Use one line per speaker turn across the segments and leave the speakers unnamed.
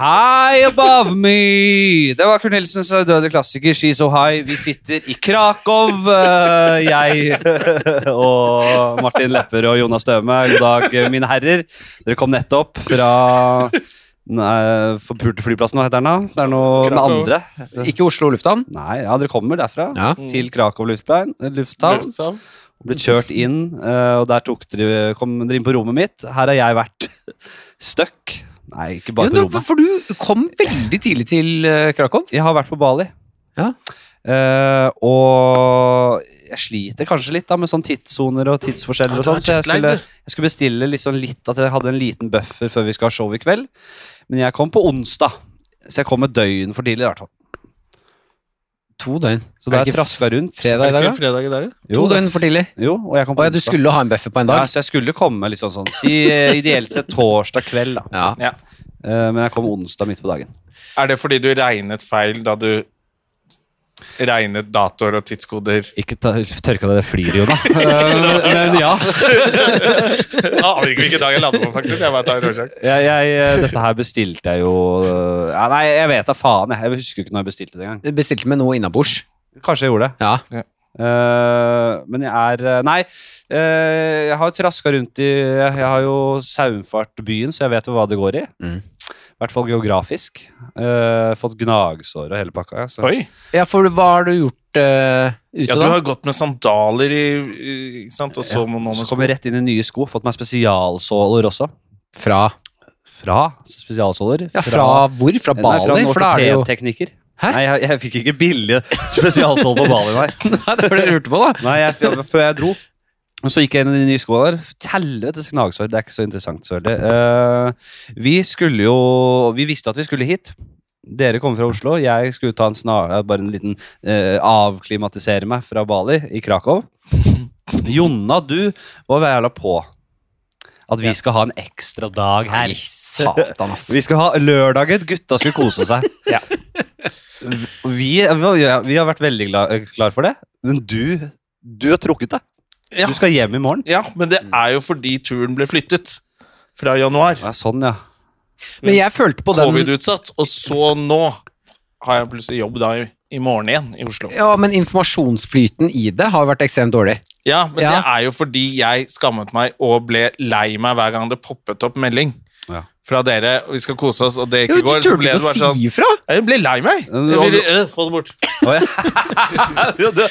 High above me! Det var Corneliusens døde klassiker She's So High. Vi sitter i Krakow, eh, jeg og Martin Lepper og Jonas Støme. God dag, eh, mine herrer. Dere kom nettopp fra Nei, forpulte flyplassen, hva heter den da? Det er noe med
Krakow.
andre.
Ikke Oslo lufthavn?
Nei, ja, dere kommer derfra.
Ja.
Til Krakow lufthavn. lufthavn.
Lufthavn.
Blitt kjørt inn, eh, og der tok dere, kom dere inn på rommet mitt. Her har jeg vært stuck. Nei, ikke bare
Jo,
på
nå-
rommet.
for du kom veldig tidlig til eh, Krakow.
Jeg har vært på Bali.
Ja.
Eh, og jeg sliter kanskje litt da med sånn tidssoner og tidsforskjeller. og
Ja, du har
sånt, så jeg,
jetlag,
skulle,
du.
jeg skulle bestille litt sånn litt at jeg hadde en liten buffer før vi skal ha show i kveld. Men jeg kom på onsdag, så jeg kom et døgn for tidlig. i hvert fall.
To døgn.
Så
er
da
det
jeg
ikke
traska rundt
fredag i dag, da?
Fredag i dag, ja.
To døgn for tidlig.
Jo, og jeg kom på
Å ja, du
onsdag.
skulle ha en buffer på en
ja,
dag?
Så jeg skulle komme litt sånn sånn Si eh, ideelt sett torsdag kveld, da.
Ja.
Eh, men jeg kom onsdag midt på dagen.
Er det fordi du regnet feil da du regnet datoer og tidskoder?
Ikke ta, tørka deg det flyet, Jona. men, men ja.
Jeg aner ikke hvilken dag jeg lander på, faktisk. Jeg bare tar en årsak.
jeg, jeg, dette her bestilte jeg jo øh, ja, Nei, jeg vet da faen. Jeg, jeg husker jo ikke når jeg bestilte det engang.
Du Bestilte med noe innabords.
Kanskje jeg gjorde det.
Ja.
Eh, men jeg er eh, Nei, eh, jeg har jo traska rundt i Jeg har jo saumfart byen, så jeg vet jo hva det går i.
Mm.
I hvert fall geografisk. Eh, fått gnagsår og hele pakka. ja, Så.
Oi.
ja, for hva har du gjort eh, ute,
Ja, du
da?
har gått med sandaler i, i ikke sant? Og så må noen
Så kom jeg rett inn i nye sko. Fått meg spesialsåler også.
Fra
Fra spesialsåler.
Ja, fra hvor? Fra Bali?
Nei,
for
fra
da er det jo
ortopedteknikker.
Hæ?
Nei, jeg, jeg fikk ikke billige spesialsåler på Bali, nei.
Nei, det var det du lurte på, da.
Nei, jeg, f- før jeg dro Og så gikk jeg inn i de nye skoene der Helvetes gnagsår, det er ikke så interessant så veldig Eh, Vi skulle jo Vi visste at vi skulle hit dere kommer fra Oslo, jeg skulle ta en snar, eh, bare en liten eh, avklimatisere meg fra Bali i Krakow. Jonna, du var jævla på at vi skal ha en ekstra dag her.
Satan, ass.
Vi skal ha lørdagen, gutta skal kose seg.
Ja.
Vi, vi har vært veldig gla- klar for det, men du, du har trukket deg.
Ja.
Du skal hjem i morgen.
Ja, men det er jo fordi turen ble flyttet fra januar.
Ja, sånn, ja.
Men jeg følte på den
Covid-utsatt. Og så nå har jeg plutselig jobb da i, i morgen igjen i Oslo.
Ja, men informasjonsflyten i det har vært ekstremt dårlig.
Ja, men
Ja.
det er jo fordi jeg skammet meg og ble lei meg hver gang det poppet opp melding
Ja.
fra dere. og Vi skal kose oss, og det
Jo,
ikke
du
går. Så
turte
ble det
ikke
bare
å
sånn
si ifra!
Jeg ble lei meg.
Ja,
Jeg
men-
ville, øh, få det bort.
Å, ja.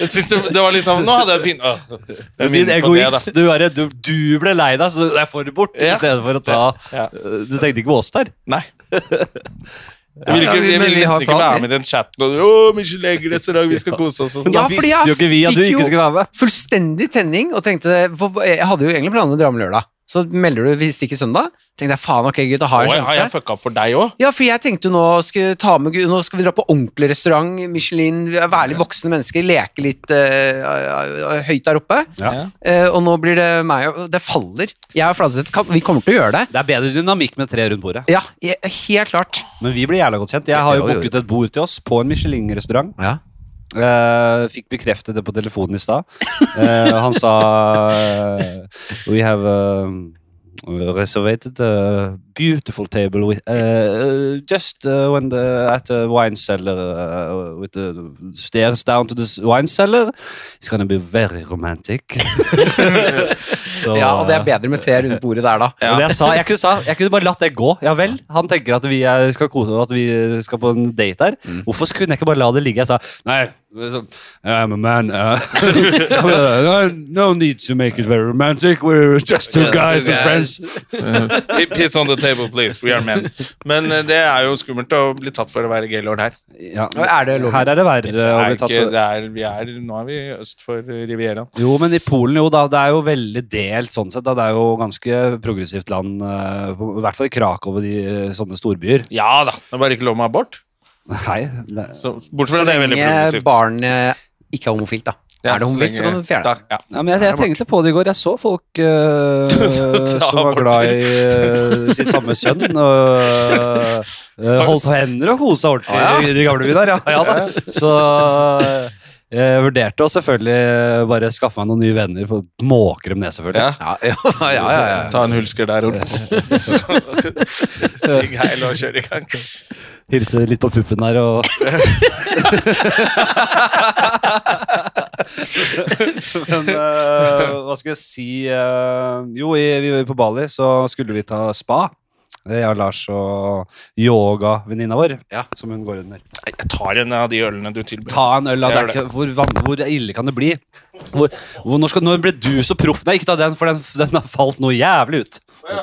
Jeg synes det, det var liksom Nå hadde jeg fin øh, det er min
Din
på det, da.
egoist. Du, bare- du, du ble lei deg, så jeg får det bort.
Ja.
I stedet for å ta
Ja.
Du tenkte ikke på oss der.
Nei. Jeg ville,
Ja,
ikke,
men
jeg ville
vi har
nesten ikke
plan,
være
vi.
med i den chatten. Og, «Åh, Michelin-restaurant, vi skal kose oss og sånn.
Da
Ja, fordi
visste
jeg
jo ikke vi at du
fikk
ikke
jo-
skulle være med.
Fullstendig tenning, og tenkte for Jeg hadde jo egentlig planer om å dra med lørdag. Så melder du hvis ikke søndag. Tenkte jeg faen, ok, gutta, har
Oi,
jeg en
har jeg
sjanse.
fucka opp for deg òg?
Ja, for jeg tenkte jo nå skal, vi ta med, gu- nå skal vi dra på ordentlig restaurant, Michelin, vi er være litt voksne mennesker, leke litt eh, eh, høyt der oppe.
Ja.
Eh, og nå blir det meg og Det faller. Jeg og Fladseth kan- Vi kommer til å gjøre det.
Det er bedre dynamikk med tre rundt bordet.
Ja, jeg, helt klart.
Men vi blir jævla godt kjent. Jeg har jo
Jo, jo, jo.
booket et bord til oss på en Michelin-restaurant.
Ja.
Eh, fikk bekreftet det på telefonen i stad. Eh, han sa eh, We have um, reservated a beautiful table with, eh, just eh, when the, at the wine cellar eh, with the stairs down to the s- wine cellar. It's gonna be very romantic. Så,
ja, og det er
eh,
bedre med tre rundt bordet der, da.
og det jeg, sa, jeg, kunne sa, jeg kunne bare latt det gå. Ja vel, han tenker at vi er, skal kose og at vi skal på en date her. Hvorfor kunne jeg ikke bare la det ligge? Jeg sa Mm. nei, det er sånn, I'm a man. Uh, no need to make it very romantic. We're just two
Just two
guys and
guys.
friends.
Piss on the table, please. We are men. Men eh, det er jo skummelt å bli tatt for å være gaylord her.
Ja,
Er det lov?
her er det verre å
Det er
bli tatt
ikke,
for
det er, vi er, nå er vi øst for eh, Rivieraen.
Jo, men i Polen, jo da. Det er jo veldig delt sånn sett. Da. Det er jo ganske progressivt land. eh, på- I hvert fall i Krakow og de eh, sånne storbyer.
Ja da. Det er bare ikke lov med abort.
Nei, det,
Så, bortsett fra det er veldig
Lenge
progressivt.
barnet eh, ikke er homofilt, da.
Ja,
er det homofilt,
lenge-
så kan du fjerne det.
Da- ja.
Ja, men jeg, jeg tenkte på det i går. Jeg så folk eh,
Ta
som var
aborter.
glad i eh, sitt samme kjønn. Og
Ah,
eh, holdt på hender og kosa ordentlig i de gamle byen der. Ja, ja da. Så eh, Jeg vurderte å selvfølgelig bare skaffe meg noen nye venner for å måke dem ned, selvfølgelig.
Ja.
Ja, ja, ja, ja, ja.
Ta en hulsker der og Sigg heil og kjør i gang.
Hilse litt på puppen her og Men eh, hva skal jeg si eh, Jo, i, vi var på Bali, så skulle vi ta spa. Eh, Jeg og Lars og yogavenninna vår,
Ja.
som hun går under.
Nei, Jeg tar en av de ølene du tilbyr.
Ta en øl, da. Det er
Jeg gjør
ikke, hvor, van- hvor ille kan det bli? Hvor, hvor, når, skal, når ble du så proff? Nei, ikke ta den, for den, den har falt noe jævlig ut.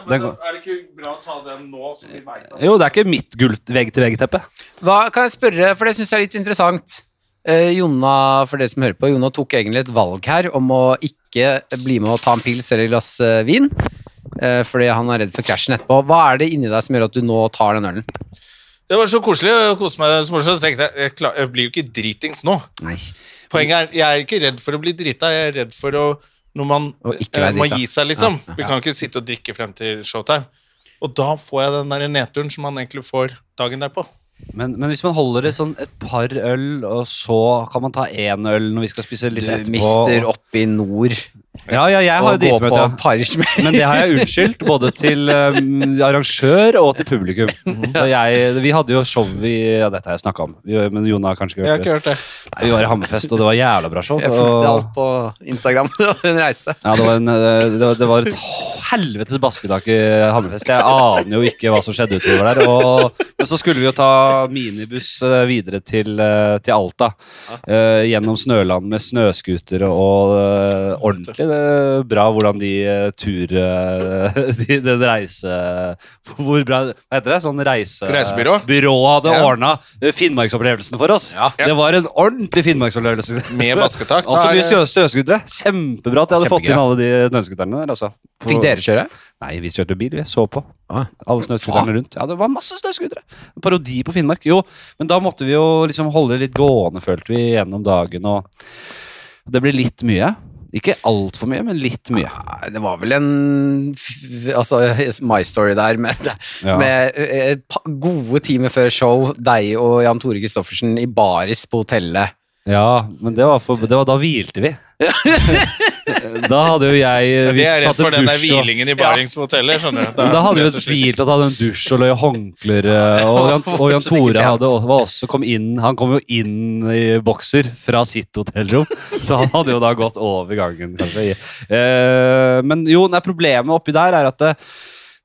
Den,
det ikke bra å ta den nå, så vi veit at
jo, det er ikke mitt gulv-vegg-til-vegg-teppe.
Hva kan jeg spørre, for det syns jeg er litt interessant. Eh, Jonna, for dere som hører på, Jonna tok egentlig et valg her om å ikke bli med og ta en pils eller et glass eh, vin. eh, fordi han er redd for krasjen etterpå. Hva er det inni deg som gjør at du nå tar den ølen?
Det var så koselig å kose meg så morsomt, så tenkte jeg jeg, klar, jeg blir jo ikke dritings nå.
Nei.
Poenget er jeg er ikke redd for å bli drita, jeg er redd for å når man
Å ikke
eh,
være
må
drita.
gi seg, liksom.
Ja, ja.
Vi kan ikke sitte og drikke frem til showtime. Og da får jeg den der nedturen som man egentlig får dagen derpå.
Men, men hvis man holder det sånn et par øl, og så kan man ta én øl når vi skal spise
Du
litt etterpå
mister opp i nord
Ja, ja, jeg har
og går på
dritmøte.
parish med
Men det har jeg unnskyldt både til um, arrangør og til publikum.
Mhm.
Og jeg, vi hadde jo show i ja, Dette har jeg snakka om, vi, men Jon har kanskje ikke
Jeg har
hørt det.
ikke hørt det.
Nei, Vi var i Hammerfest, og det var jævla bra show.
Jeg fulgte
og-
alt på Instagram. Det var en reise.
Ja, det var, en, eh, det, var, det var et helvetes basketak i Hammerfest. Jeg aner jo ikke hva som skjedde utover der. Og, men så skulle vi jo ta minibuss eh, videre til, eh, til Alta. Eh, gjennom Snøland med snøscooter og eh, ordentlig det, bra hvordan de eh, tur... eh, de, den reise... Hvor bra Hva heter det? Sånn reise...
Reisebyrå?
Byrå hadde
Ja.
ordna Finnmarksopplevelsen for oss.
Ja.
Det var en ordentlig Finnmarksopplevelse.
Med basketak.
Altså,
Da er
mye
det-
snø- snøscootere. Kjempebra at jeg hadde fått
Kjempegøy.
inn alle de snøscooterne der. Altså. På-
Fikk dere kjøre?
Nei, vi kjørte bil. Vi så på
Ah.
alle snøscooterne rundt. Ja, det var masse snøscootere. En Parodi på Finnmark. Jo, men da måtte vi jo liksom holde det litt gående, følte vi, gjennom dagen. Og det ble litt mye. Ikke altfor mye, men litt mye.
Nei, det var vel en f- altså, My Story der med,
Ja.
med eh, et pa- gode timer før show, deg og Jan Tore Christoffersen i baris på hotellet.
Ja, men det var, for, det var da hvilte vi. da hadde jo jeg
Vi er redd
tatt en
for den der
dusj og-
hvilingen i Barings på hotellet, skjønner du.
Men da hadde
blir
vi
jeg så
jo
sliten.
tvilt at han hadde en dusj og løy håndklær. eh, Og Jan, og Jan Tore hadde, også- var også kom inn, han kom jo inn i bokser fra sitt hotellrom, så han hadde jo da gått over gangen. kanskje. Eh, men jo, nei, problemet oppi der er at det,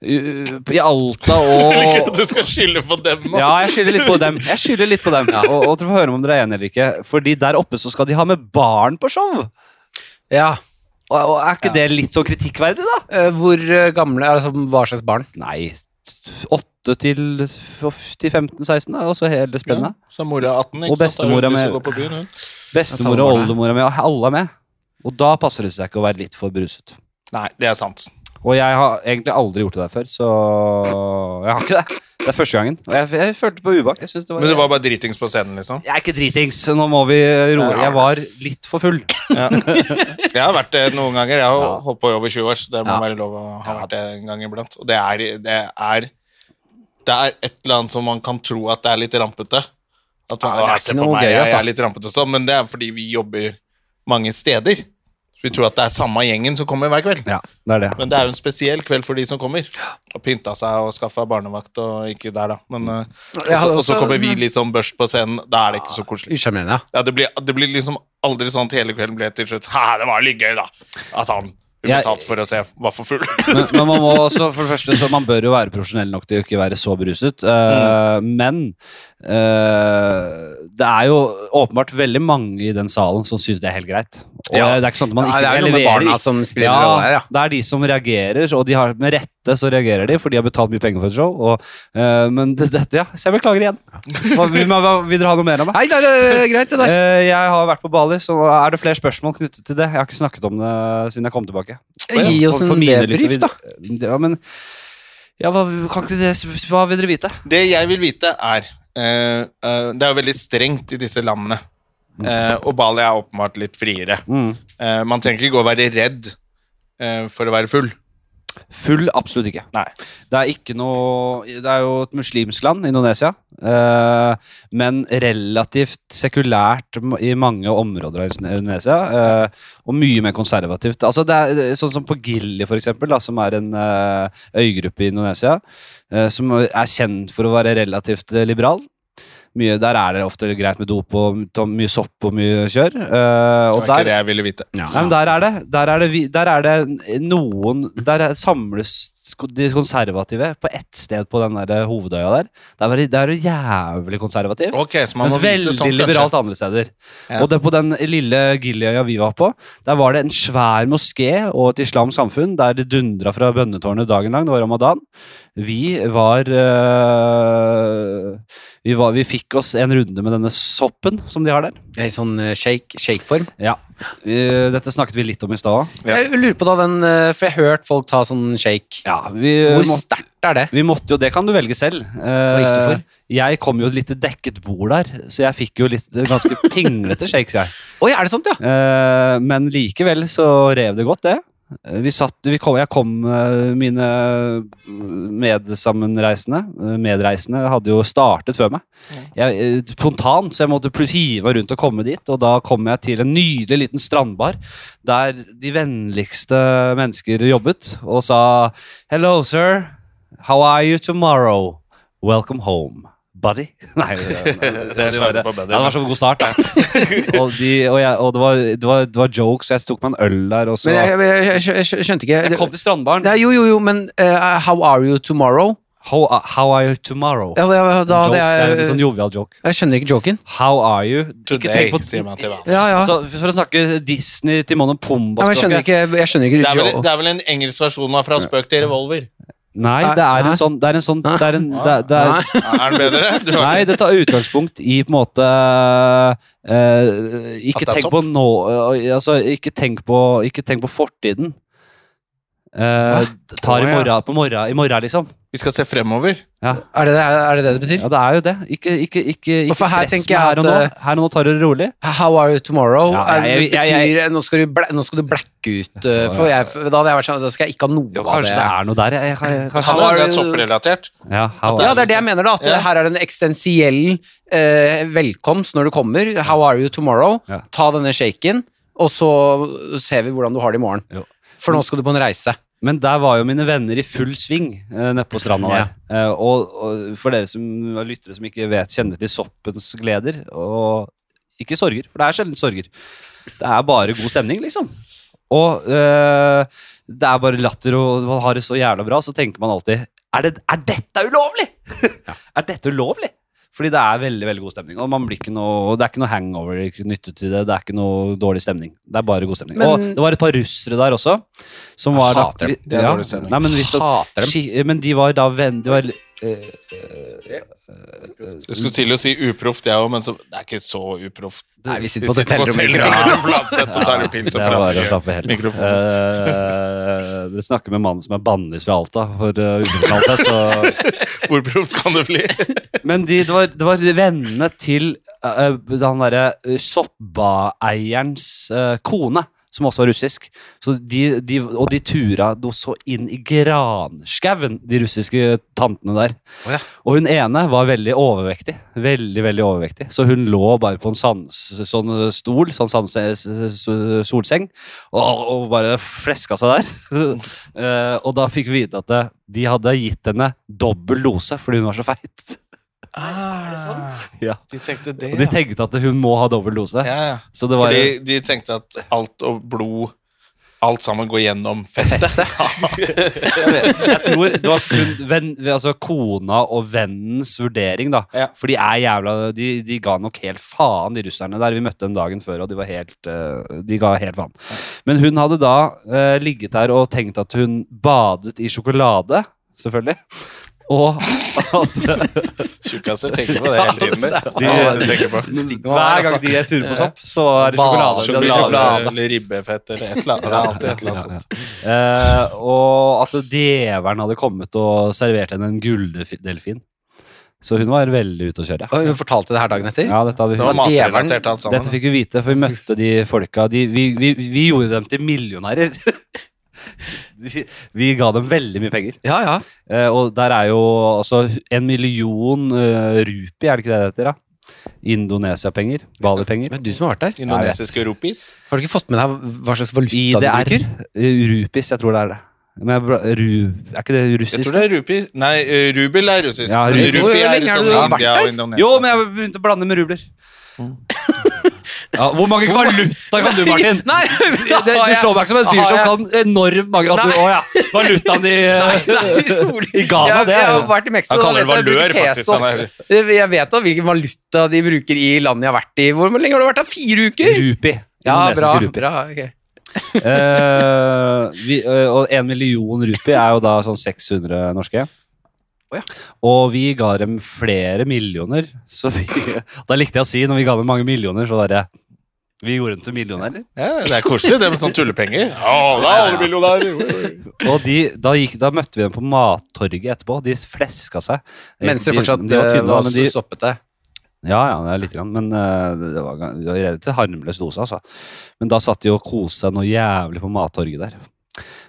eh, i Alta
Jeg liker
og
at du skal skylde på dem nå.
ja, jeg skylder litt på dem. Jeg skylder litt på dem Og, og dere får høre om dere er enige eller ikke. Fordi der oppe så skal de ha med barn på show!
Ja.
Og, og Er ikke det litt så kritikkverdig, da?
Eh, Hvor eh, gamle Altså hva slags barn?
Nei, 8 til, til 15-16, da, og så hele spennet.
Så er mora 18, ikke
Og
sant? Da er
bestemora
hun lyst til å
med-
gå på byen, hun.
Bestemor og oldemora mi, og alle er med. Og da passer det seg ikke å være litt for bruset.
Nei, det er sant.
Og jeg har egentlig aldri gjort det der før, så jeg har ikke det. Det er første gangen. Og jeg, jeg følte på ubehag. Jeg, synes det var,
Men du var bare dritings på scenen, liksom?
jeg er ikke dritings, så nå må vi roe Jeg var litt for full.
Ja. Jeg har vært det noen ganger. Jeg har
Ja.
holdt på i over 20 år, så det må
Ja.
være lov å ha
Ja.
vært det en gang iblant. Og det er, det er Det er et eller annet som man kan tro at det er litt rampete. At man,
Ja, det er
«Å, se
ikke
på
noe
meg,
gøy,
jeg, jeg
altså.»
er litt rampete og sånn, men det er fordi vi jobber mange steder. Så vi tror at det er samme gjengen som kommer hver kveld.
Ja, det er det.
Men det er jo en spesiell kveld for de som kommer. Og pynta seg og skaffa barnevakt og ikke der, da. Men, eh, og
Jeg
så-
hadde
og så
også-
kommer vi litt sånn børst på scenen. Da er det ikke så koselig.
Usjarmerende, ja.
Ja, det blir, det blir liksom aldri sånn at hele kvelden ble til slutt Hæ, det var litt gøy, da! At han
Jeg-
ubetalt for å se var for full.
Men, men man må også, for det første, så man bør jo være profesjonell nok til å ikke være så beruset. Eh,
Mm.
Men eh, det er jo åpenbart veldig mange i den salen som syns det er helt greit. Og
Ja.
det er ikke sånn at man
Ja,
ikke
det er noe med
leverer
barna som spiller en rolle her, ja.
Det er de som reagerer, og de har, med rette så reagerer de, for de har betalt mye penger for et show. Og, eh, men det- dette, ja. Så jeg beklager igjen. Hva, vil, hva- vil dere ha noe mer av meg?
Nei, det er eh, greit, det der.
Eh, jeg har vært på Bali, så er det flere spørsmål knyttet til det. Jeg har ikke snakket om det siden jeg kom tilbake.
Gi oss
For- for
en
mine
debrief, da.
lyttere vil- Ja, men ja, hva, kan ikke det, hva vil dere vite?
Det jeg vil vite, er eh, eh, Det er jo veldig strengt i disse landene. Eh, og Bali er
Mm.
åpenbart litt friere. Eh, man trenger ikke gå og være redd eh, for å være full.
Full absolutt ikke.
Nei.
Det er ikke noe Det er jo et muslimsk land, Indonesia. eh, men relativt sekulært m- i mange områder av Indonesia. eh, og mye mer konservativt. Altså det er det er Sånn som på Gili, for eksempel, da, som er en eh, øygruppe i Indonesia. eh, som er kjent for å være relativt eh, liberal. Mye, der er det ofte greit med dop og ta mye sopp og mye kjør. eh, og
Det var ikke
der,
det jeg ville vite.
Nei, men der er det. Der er det, vi- der er det noen Der er- samles ko- de konservative på ett sted på den der eh, hovedøya der. Der er det, der er det jævlig konservativt.
Ok, så man
Mens
må vite
veldig
sånn,
liberalt
kanskje.
andre steder.
Ja.
Og det, på den lille Giliøya vi var på, der var det en svær moské og et islamsk samfunn der det dundra fra bønnetårnet dagen lang. Det var ramadan. Vi var, øh, vi var Vi fikk oss en runde med denne soppen som de har der.
I sånn eh, shake, shakeform.
Ja. Eh, Dette snakket vi litt om i stad.
Ja.
Jeg lurer på da den eh, For jeg har hørt folk ta sånn shake.
Ja, vi,
Hvor
må,
sterkt er det?
vi måtte jo, det kan du velge selv. Hva
gikk du for?
Jeg kom jo litt til dekket bord der, så jeg fikk jo litt ganske pinglete shakes, jeg.
Oi, er det sant, ja?
Eh, men likevel så rev det godt, det. Eh, Vi satt, vi kom, jeg kom eh, Mine mm, medsammenreisende eh, Medreisende hadde jo startet før meg. Jeg, eh, spontant, så jeg måtte pl- hive rundt og komme dit. Og da kom jeg til en nydelig liten strandbar der de vennligste mennesker jobbet og sa Hello, sir. How are you tomorrow? Welcome home. Buddy? Nei, det, det, det,
slaget
det,
på buddy.
det var så god start. Da og, de, og, jeg, og det, var, det, var, det var jokes, og jeg tok meg en øl der. Og så,
Men
jeg,
jeg, jeg, jeg, skjø- jeg skjønte ikke
kom til strandbaren.
Nei, Jo, jo, jo, men eh, How are you tomorrow?
How, uh, how are you tomorrow?
Ja, ja, ja, da
joke,
hadde
det er en
jeg
sånn jovial joke.
Jeg skjønner ikke joken.
How are you? Ikke
Today,
tenk på
sier man til hverandre.
Ja, ja.
så, For å snakke Disney, Timon og
ja men jeg
Pumba-språket
skjønner ikke, jeg skjønner ikke
Det er, vel,
jo-
det er vel en engelsk versjon av Fra spøk til revolver.
Nei, det er
Nei.
en sånn Det er en sånn det er en, det, er- det er,
Er den bedre? Du har
Nei, det tar utgangspunkt i på en måte eh,
At
Ikke
det er
tenk
sopp?
på nå eh, Altså, ikke tenk på, ikke tenk på fortiden. Eh, tar i
Å, ja.
morgen, på morgen, i morgen, liksom.
Vi skal se fremover.
Ja.
Er det det, er det det det betyr?
Ja, det er jo det. Ikke, ikke, ikke, ikke
Og for her
stress
tenker
med eh,
jeg
her og nå.
at,
Her og nå tar du det rolig.
How are you tomorrow?
Ja,
Er-
jeg- jeg- jeg-
betyr, nå, skal du bla, nå skal du blacke ut eh, for jeg, for da, hadde jeg vært sånn, da skal jeg ikke ha noe av
Kanskje det er noe der. Jeg, jeg, jeg,
Kan
kanskje.
How
det
are
være
you-
sopprelatert?
Ja, how
Ja,
are
det er det jeg mener, da. At
Ja.
eh, her er det en eksistensiell eh, velkomst når du kommer. How are you tomorrow?
Ja.
Ta denne shaken, og så ser vi hvordan du har det i morgen.
Jo.
For nå skal du på en reise.
you? Men der var jo mine venner i full sving eh, nede på stranda der. Eh, og, og for dere som er lyttere som ikke vet, kjenner til soppens gleder og ikke sorger, for det er sjelden sorger. Det er bare god stemning, liksom. Og eh, det er bare latter, og man har det så jævla bra, så tenker man alltid Er, det, er dette ulovlig?! er dette ulovlig? Fordi det er veldig veldig god stemning. Og man blir ikke noe, Det er ikke noe hangover knyttet til det. Det er ikke noe dårlig stemning. Det er bare god stemning.
Men-
og det var et par russere der også. Som
Jeg
var
hater dem.
Det er dårlig stemning.
Nei, men, hvis det-
Hater dem.
Ski- men de var da venn... De var, eh,
Du skulle til å si uproft, jeg òg, men så, det er ikke så uproft.
Nei, vi sitter
Vi
på et
sitter på
hotellrom.
hotellrom
Ja.
på Fladseth og tar en pils og
det er bare å
prater.
slappe helt av.
Mikrofon.
Eh, Dere snakker med mannen som er bannlyst fra Alta for uh, ubekriminalitet, så
Hvor proft kan det bli?
Men de, det, var, det var vennene til øh, øh, han derre øh, soppaeierens øh, kone, som også var russisk. Så de, de, og de tura noe så inn i granskauen, de russiske tantene der.
Å ja.
Og hun ene var veldig overvektig. Veldig, veldig overvektig. Så hun lå bare på en sand, sånn stol, sånn sand, solseng, og, og bare fleska seg der. Eh, og da fikk vi vite at eh, de hadde gitt henne dobbel dose fordi hun var så feit.
Ah,
Ja.
De tenkte det,
Og de tenkte at hun må ha dobbel dose.
ja. ja.
Så det var
Fordi de tenkte at alt og blod Alt sammen går gjennom fettet.
Jeg tror det var kun venn, altså kona og vennens vurdering, da.
Ja.
For de er jævla de, de ga nok helt faen, de russerne der. Vi møtte dem dagen før, og de var helt eh, De ga helt faen. Men hun hadde da eh, ligget der og tenkt at hun badet i sjokolade, selvfølgelig. Og at
Tjukkaser tenker på det hele tiden.
Ja,
De,
det
er-
de, tenker på.
hver
altså-
gang de er turer på sopp, så er det
Bader
sjokolade.
i sjokolade.
eller ribbefett eller et eller annet. Det er alltid et eller annet sånt.
Eh, og at djevelen hadde kommet og servert henne en gulldelfin. Så hun var veldig ute å kjøre.
Og hun fortalte det her dagen etter.
Ja, dette, har
Det var
vi,
Nå- djevelen-
matrelatert alt sammen.
dette fikk vi vite, for vi møtte de folka de, vi, vi, vi gjorde dem til millionærer. de- Vi ga dem veldig mye penger.
Ja, ja.
Eh, og der er jo altså en million eh, rupi, er det ikke det det heter? da? Indonesia-penger. Bali-penger.
Men du som har vært der,
Indonesiske rupees.
har du ikke fått med deg hva slags valuta du
IDR.
bruker?
Eh, Rupis, jeg tror det er det. Men jeg, bra- ru, er ikke det russisk?
Jeg tror det er rupi Nei, eh, rubel er russisk.
Ja,
men
rubel.
rupi
Hvor
er
lenge har
sånn
du vært
India
der?
og Indonesia.
Jo, men jeg begynte å blande med rubler. Ja, hvor mange valuta kan du, Martin?
Mm. Nei,
Det, det, du slår meg ikke som en fyr som kan enormt mange at du,
Nei.
Å ja, valutaen i eh,
Nei, nei, rolig.
I Ghana,
jeg,
det er
jeg har
jo-
vært i Mexico. da
Han kaller det
vet jeg
valør,
de
faktisk,
bruker
han er-
pesos. Jeg vet da hvilken valuta de bruker i landet jeg har vært i. Hvor lenge har du vært der? Fire uker?
Rupi.
Ja,
Indonesiske
bra.
rupier.
bra ok.
Eh, vi, eh, og en million rupi er jo da sånn 600 norske.
Å ja.
Og vi ga dem flere millioner. Så vi, da likte jeg å si, når vi ga dem mange millioner, så bare Vi gjorde dem til millionærer.
Ja, det er koselig, det med sånne tullepenger. Ja, da er alle millionærer.
Og de, da, gikk, da møtte vi dem på mattorget etterpå. De fleska seg.
Mens det fortsatt
de var
eh,
tynne, da,
var
men de,
soppete.
Ja, ja, det er litt grann, men eh, det var, gan- det var revet til harmløs dose, altså. Men da satt de og koste seg noe jævlig på mattorget der.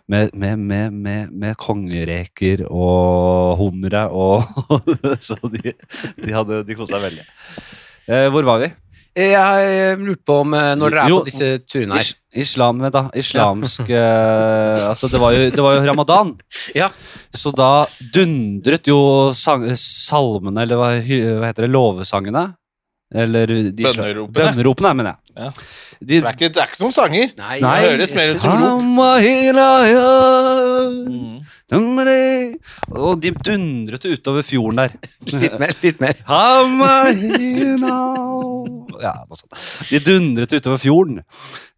Med, med, med, med, med kongereker og humre og Så de, de, hadde- de koste seg veldig. Eh, hvor var vi?
Jeg eh, lurte på om eh, når dere er
Jo.
på disse turene her
Is, islam, vent da. Islamsk eh, Altså, det var, jo, det var jo ramadan.
Ja.
Så da dundret jo sang, salmene, eller hva, hy- hva heter det, lovesangene? Eller de
Bønneropene.
Bønneropene, mener jeg.
Ja.
De,
Det er ikke, det er ikke som sanger.
Nei,
Nei.
Det høres mer ut som rop.
Amahiraya,
Mm.
Dumri. Og de dundret utover fjorden der.
Ah. Litt mer. litt mer
Amahirao. Ja, noe sånt. De dundret utover fjorden.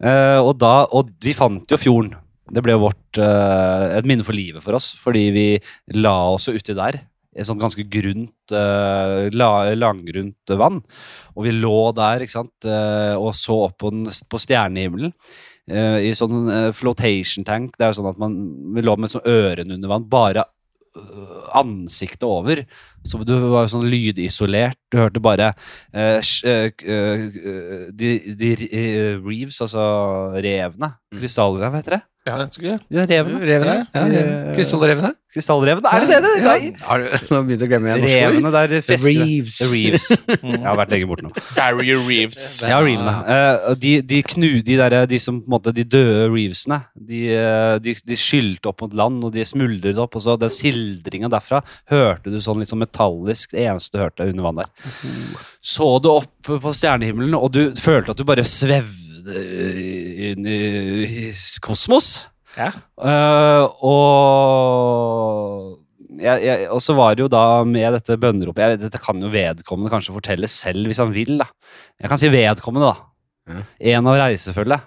Eh, og, da, og vi fant jo fjorden. Det ble vårt, eh, et minne for livet for oss, fordi vi la oss jo uti der. Et sånt ganske grunt, eh, la, langgrunt vann. Og vi lå der ikke sant? eh, og så opp på, den, på stjernehimmelen. eh, I sånn eh, flotation tank. Det er jo sånn at man vi lå med sånn ørene under vann. Bare øh, ansiktet over. Så du var jo sånn lydisolert. Du hørte bare eh, sj- eh, k- eh, de, de re- eh, reeves, altså revene.
Mm.
Krystallrevene, vet dere?
Ja, det er ikke det.
Ja, revene.
Revene? Ja,
Ja. Eh,
revene. Krystallrevene?
Krystallrevene, er det det? det?
Ja.
Nei.
Har du nå begynt å glemme igjen norske ord?
Revene der fester det.
Reeves.
The Reeves. Jeg har vært lenge borte nå.
Barry Reeves.
Ja, reevene. Eh, og de, de, knu, de, der, de som på en måte, de døde reevesene, de, eh, de, de skylte opp mot land, og de smuldret opp, og så den sildringen derfra hørte du sånn litt sånn metallisk, det eneste du hørte under vann der. Så du opp på stjernehimmelen, og du følte at du bare svevde inn i kosmos.
Ja.
Eh, og jeg, jeg, og så var det jo da med dette bønneropet jeg, vet- Dette kan jo vedkommende kanskje fortelle selv hvis han vil. da Jeg kan si vedkommende, da. En av reisefølget.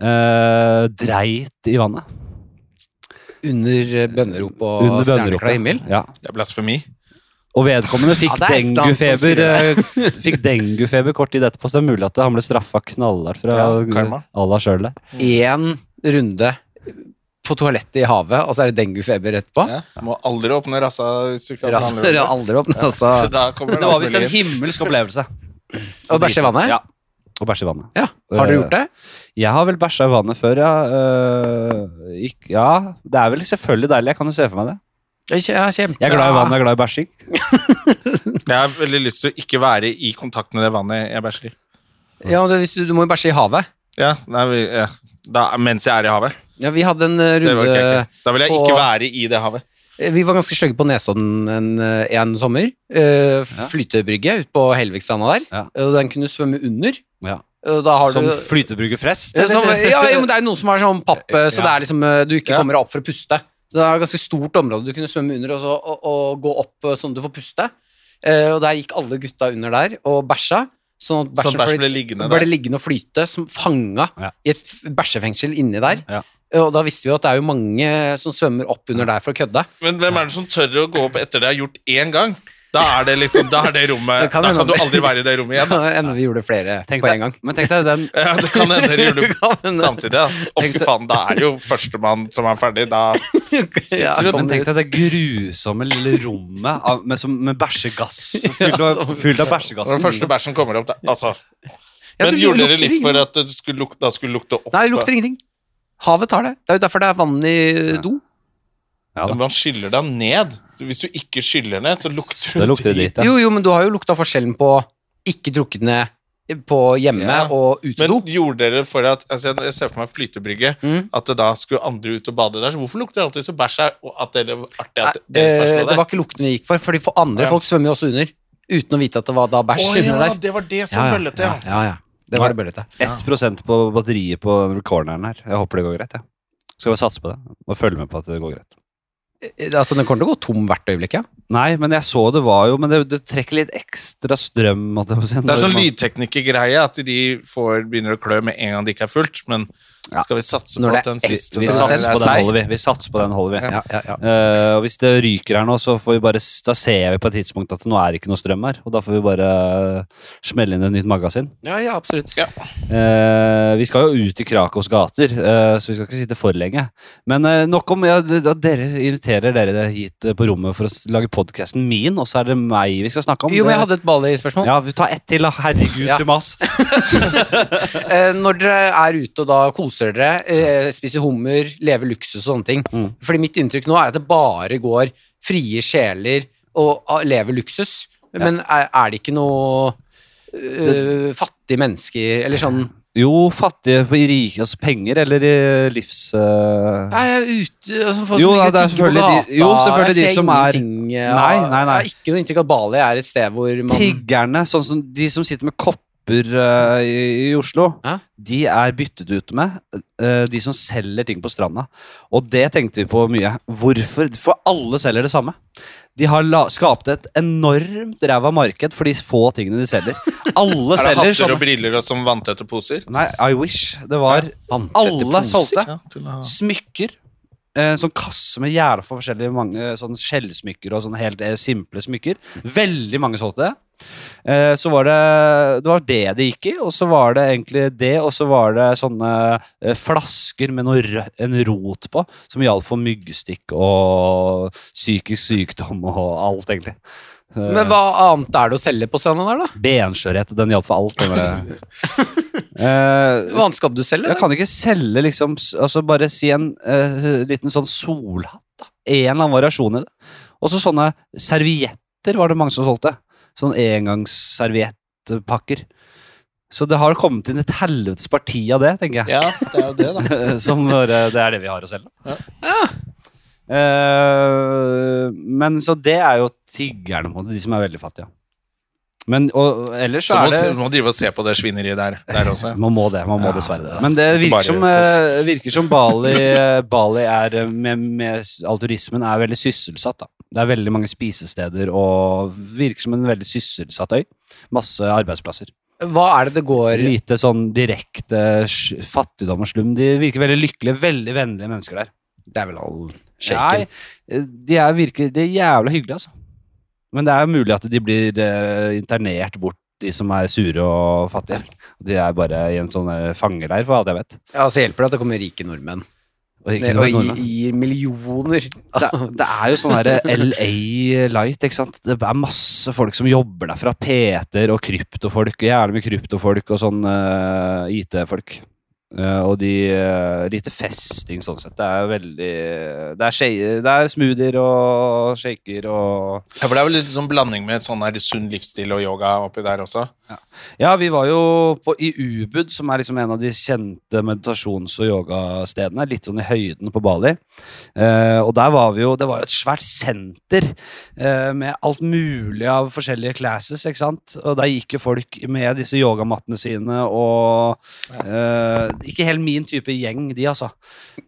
eh, dreit i vannet.
Under eh, bønnerop og
under
stjerneklar
bønneropet.
himmel?
Ja.
Det er blasfemi.
Og vedkommende fikk
Ja, det er Stan som
denguefeber
skriver
eh, Fikk denguefeber kort tid etterpå, så det er mulig at han ble straffa knallhardt fra
Ja, karma.
Allah sjøl.
Én runde på toalettet i havet, og så er det denguefeber etterpå?
Ja. Må aldri åpne rassa. hvis du ikke har
Ras-
planer om det.
aldri opp, men altså
Så Da kommer
Det
det
var
alt
visst en
mulig.
himmelsk opplevelse.
Å bæsje i vannet?
Ja. Å bæsje i vannet.
Ja. Har dere gjort det?
Jeg har vel bæsja i vannet før, ja. Øh, ikk- ja. Det er vel selvfølgelig deilig. Jeg kan jo se for meg det.
Jeg kje- jeg er kjempe-
Jeg er glad i vann, jeg er glad i bæsjing.
Jeg har veldig lyst til å ikke være i kontakt med det vannet jeg bæsjer i.
Ja, men hvis du, du må jo bæsje i havet.
Ja, nei, vi, ja. Da, mens jeg er i havet.
Ja, vi hadde en eh,
Det var
runde
ikke jeg. Da vil jeg
på-
ikke være i det havet.
Eh, Vi var ganske stygge på Nesodden en, eh, en sommer. Eh, flytebrygge ute på Helvikstranda der.
Ja.
Og den kunne du svømme under.
Ja.
Og da har
Som
du
flytebruker flest.
Ja, som,
eller?
ja, jo, men det er jo noen som har sånn papp, eh, så
Ja.
det er liksom eh, du ikke
Ja.
kommer deg opp for å puste. Så det er et ganske stort område du kunne svømme under og, så, og, og gå opp eh, sånn at du får puste. Eh, og der gikk alle gutta under der og bæsja. Sånn at
Sånn
bæsjen
bæsj ble
flyt-
liggende
ble
der.
liggende og flyte, som fanga
Ja.
i et f- bæsjefengsel inni der.
Ja.
Eh, Og da visste vi jo at det er jo mange som svømmer opp under der for å kødde.
Men hvem er det som tør å gå opp etter det har gjort én gang? Da er det liksom, da er det rommet
Det kan
Da
hende-
kan du aldri være i det rommet igjen.
Enda vi gjorde flere
Tenk
på
deg-
en gang.
Men tenk deg den
Ja, det kan hende dere gjorde det
Kan hende-
samtidig. altså. Å, fy faen, da er det jo førstemann som er ferdig. Da
Ja,
sitter du
men
kommer
tenk
ut.
deg det grusomme lille rommet av, med, som, med bæsjegass. Fylt av, fylt av
når den
bæsjegass.
første bæsjen kommer opp, da. Altså.
Ja,
Men
det
gjorde
lukter
dere litt
ingenting.
for at det skulle lukte, da skulle lukte opp?
Nei, det lukter ingenting. Havet tar det. Det er jo derfor det er vann i do.
Ja, da.
Man skyller deg ned. Hvis du ikke skyller ned, så lukter
Det
du
lukter dritt, ja.
Jo, jo, men du har jo lukta forskjellen på ikke drukket ned eh, på hjemme
Ja.
og utedo.
Men gjorde dere for at altså Jeg jeg ser for meg flytebrygge.
Mm.
At det da skulle andre ut og bade der. Så hvorfor lukter det alltid så bæsj her? Og at det var artig
Nei,
at
det,
deres bæsj lå
Eh, det
der.
var ikke lukten vi gikk for, fordi for andre
Ja.
folk svømmer jo også under. Uten å vite at det var da bæsj
Å
under
ja,
der.
det var det som bøllete, ja.
ja, ja. Det var det bøllete.
1 på batteriet på corneren her. Jeg håper det går greit. jeg. Skal bare satse på det og følge med på at det går greit.
Eh, Altså, den kommer til å gå tom hvert øyeblikk, ja.
Nei, men jeg så det var jo Men det, det trekker litt ekstra strøm. måtte jeg få si.
Det er sånn lydteknikergreie at de får, begynner å klø med en gang det ikke er fullt. Men
Ja.
skal vi satse
Når
på
det
at den
er-
siste
Vi
den
satser
satser
er
på den
seig?
holder vi. Vi satser på den holder vi.
ja, ja, ja.
Eh, og hvis det ryker her nå, så får vi bare, da ser vi på et tidspunkt at nå er det ikke noe strøm her. Og da får vi bare eh, smelle inn et nytt magasin.
ja, ja absolutt.
Ja.
Eh, vi skal jo ut i Krakos gater, eh, så vi skal ikke sitte for lenge. Men eh, nok om ja, d- at dere inviterer dere der hit eh, på rommet for å s- lage podkasten min, og så er det meg vi skal snakke om.
Jo, men jeg
Det-
hadde et Bali-spørsmål.
Ja, vi tar ett til, da. Herregud,
Ja.
Thomas.
Eh, når dere er ute og da koser dere, eh, spiser hummer, lever luksus og sånne ting
Mm.
Fordi mitt inntrykk nå er at det bare går frie sjeler og ah, lever luksus. Men er, er det ikke noe eh, fattige mennesker eller sånn
Jo, fattige på i rike, altså penger eller i livs... eh,
Nei, jeg er ute altså, folk
Jo, da,
som ligger
det er
og tigger på
selvfølgelig de-
gata.
jo, selvfølgelig
jeg
de
ser
som er-
ingenting, eh,
Nei, nei, nei.
Jeg har ikke noe inntrykk av at Bali er et sted hvor man
Tiggerne, sånn som de som sitter med kopper eh, i, i Oslo,
Ja.
de er byttet ut med eh, de som selger ting på stranda. Og det tenkte vi på mye. Hvorfor? For alle selger det samme. De har la, skapt et enormt ræva marked for de få tingene de selger. Alle
Er det
selger
hatter og
sånn.
briller og som vanntette poser?
Nei, I wish. Det var
Vanntette
Alle
poser.
solgte.
Ja, til å ha-
Smykker. Eh, sånn kasse med jævla for forskjellige mange eh, sånn skjellsmykker og sånn helt eh, simple smykker. Veldig mange solgte det. Eh, så var det det var det det gikk i, og så var det egentlig det, og så var det sånne eh, flasker med noe rø en rot på, som gjaldt for myggstikk og psykisk sykdom og alt, egentlig. Eh,
Men hva annet er det å selge på stranda der, da?
Benskjørhet, den hjalp for alt. Den der. Eh,
Hva annet skal du selge?
jeg
da?
kan ikke selge liksom s- altså Bare si en eh, liten sånn solhatt. da En eller annen variasjon i det. Og så sånne servietter var det mange som solgte. Sånn engangsserviettpakker. Så det har kommet inn et helvetes parti av det, tenker jeg.
Ja, det er jo det, da.
som bare, det er det vi har å selge.
Ja.
Eh, men så det er jo tiggerne, på en måte, de som er veldig fattige. Men og, ellers
Så
så
må,
er det
se- må drive og se på det svineriet der, der også.
man må det, man må dessverre det. Men det
Bare
virker som, eh, virker som Bali, Bali er eh, med, med s- all turismen er veldig sysselsatt. Da. Det er veldig mange spisesteder og virker som en veldig sysselsatt øy. Masse arbeidsplasser.
Hva er det det går
Lite sånn direkte sj- fattigdom og slum. De virker veldig lykkelige, veldig vennlige mennesker der.
Det er vel all
Nei, eh, de er, virker, de er jævla hyggelige, altså. Men det er jo mulig at de blir eh, internert bort, de som er sure og fattige. De er bare i en sånn eh, fangeleir, for alt jeg vet.
Ja, så hjelper det at det kommer rike nordmenn.
Og ikke
og
noe
gir,
nordmenn.
gir millioner.
det, det er jo sånn der LA Light, ikke sant? Det er masse folk som jobber derfra. Peter og kryptofolk. Gjerne med kryptofolk og sånn eh, IT-folk. Eh, og de eh, Lite festing sånn sett. Det er veldig Det er, shake- det er smoothier og shaker og
Ja, for det er vel litt sånn blanding med sånn her sunn livsstil og yoga oppi der også.
Ja, vi var jo på, i Ubud, som er liksom en av de kjente meditasjons- og yogastedene. Litt sånn i høyden på Bali. Eh, og der var vi jo Det var jo et svært senter eh, med alt mulig av forskjellige classes, ikke sant. Og der gikk jo folk med disse yogamattene sine og eh, Ikke helt min type gjeng, de, altså.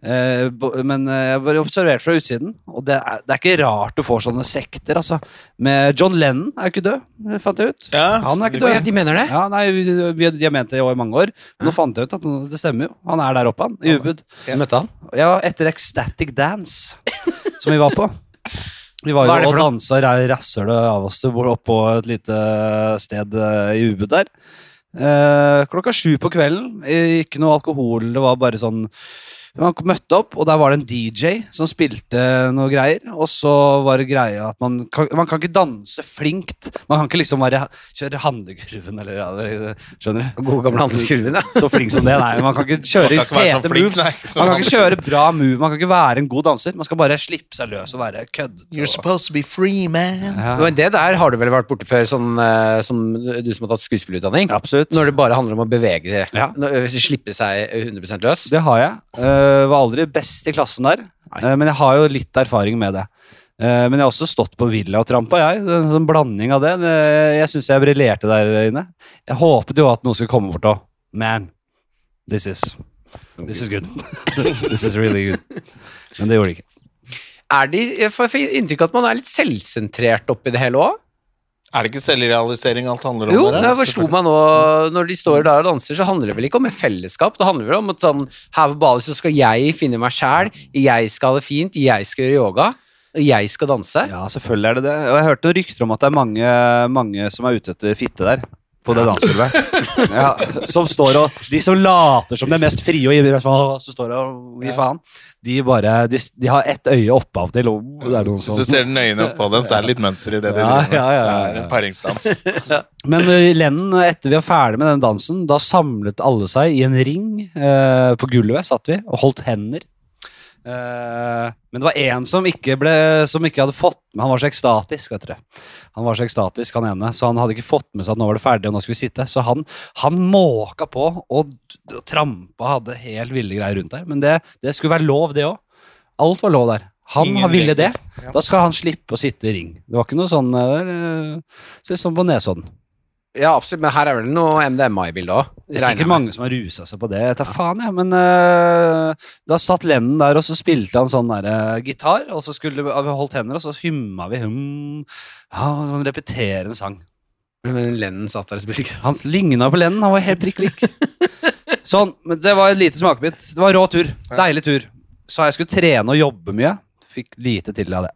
Eh, bo- men eh, jeg bare observert fra utsiden, og det er, det er ikke rart du får sånne sekter, altså. Med John Lennon er jo ikke død, fant jeg ut. Han er ikke død.
Ja, de mener det?
Ja, nei, vi, vi, de har ment det i mange år, men nå fant jeg ut at det stemmer jo. Han er der oppe, han, i Ubud.
Du møtte han?
Ja, etter Ecstatic Dance, som vi var på. Vi var
Hva er det
jo og
for noe?
dansa ra- rasshølet av oss oppå et lite sted eh, i Ubud der. Eh, klokka sju på kvelden. Eh, Ikke noe alkohol, det var bare sånn Men Man møtte opp, og der var det en DJ som spilte noe greier. Og så var det greia at man kan, man kan ikke danse flinkt. Man kan ikke liksom bare kjøre handlekurven eller ja, det, det, Skjønner du?
Gode gamle Anders Kurven, ja.
Så flink som det, nei. Man kan ikke
Man
kjøre
kan
i
ikke være så
fete
flink,
moves.
nei.
Man kan ikke kjøre bra move. Man kan ikke være en god danser. Man skal bare slippe seg løs og være køddete. og-
supposed to be free, man.
Ja.
Men det der har du vel vært borte før, sånn, eh, som du som har tatt skuespillerutdanning?
Absolutt.
Når det bare handler om å bevege eh, det.
Ja.
Nå- ø, Slippe seg 100 løs.
Det har jeg. Eh, var aldri best i klassen der, Eh, men jeg har jo litt erfaring med det. Eh, men jeg har også stått på villa og trampa, jeg. Det er En sånn blanding av det. Det- jeg syns jeg briljerte der inne. Jeg håpet jo at noen skulle komme bort og Man, this is This is good. this is really good. Men det gjorde de ikke.
Er de, jeg får jeg får inntrykk av at man er litt selvsentrert oppi det hele òg.
Er det ikke selvrealisering alt handler om?
Jo,
dere?
det forslo meg nå Når de står der og danser, så handler det vel ikke om et fellesskap. Det handler vel om at sånn, her på Bali så skal jeg finne meg sjæl, jeg skal ha det fint, jeg skal gjøre yoga, og jeg skal danse.
Ja, selvfølgelig er det det. Og jeg hørte noen rykter om at det er mange, mange som er ute etter fitte der. På det dansegulvet. Ja, som står og De som later som de er mest frie og gir best faen, som står og gir faen, de bare De, de har ett øye oppe av og til. Og det er noen
Hvis du
sånn.
ser nøyene på den, så er det litt mønster i det de
Ja,
driver med.
ja, ja, ja, ja.
Det er en paringsdans.
Men ø, Lennon, etter vi var ferdig med den dansen, da samlet alle seg i en ring eh, på gulvet, satt vi, og holdt hender. Eh, men det var én som ikke ble Som ikke hadde fått med Han var så ekstatisk, vet dere. Han var så ekstatisk, han ene, så han hadde ikke fått med seg at nå var det ferdig, og nå skulle vi sitte. Så han, han måka på og d- og trampa hadde helt ville greier rundt der. Men det, det skulle være lov, det òg. Alt var lov der. Han
Ingen
har ville det.
regler. Ja.
Da skal han slippe å sitte i ring. Det var ikke noe sånn eh, der, eh, Se sånn på Nesodden.
Ja, absolutt, men her er vel noe MDMA i bildet òg.
Det er sikkert mange som har rusa seg på det. Jeg tar faen, jeg. Men øh, da satt Lennon der, og så spilte han sånn der, øh, gitar. Og så skulle vi vi holdt hender, og så hymma vi hum, ja, og sånn repeterende sang.
Men Lennon satt der og spilte
Han ligna på Lennon. Han var helt prikk lik. sånn. Men det var et lite smakebit. Det var rå tur. Deilig tur. Sa jeg skulle trene og jobbe mye. Fikk lite til av det.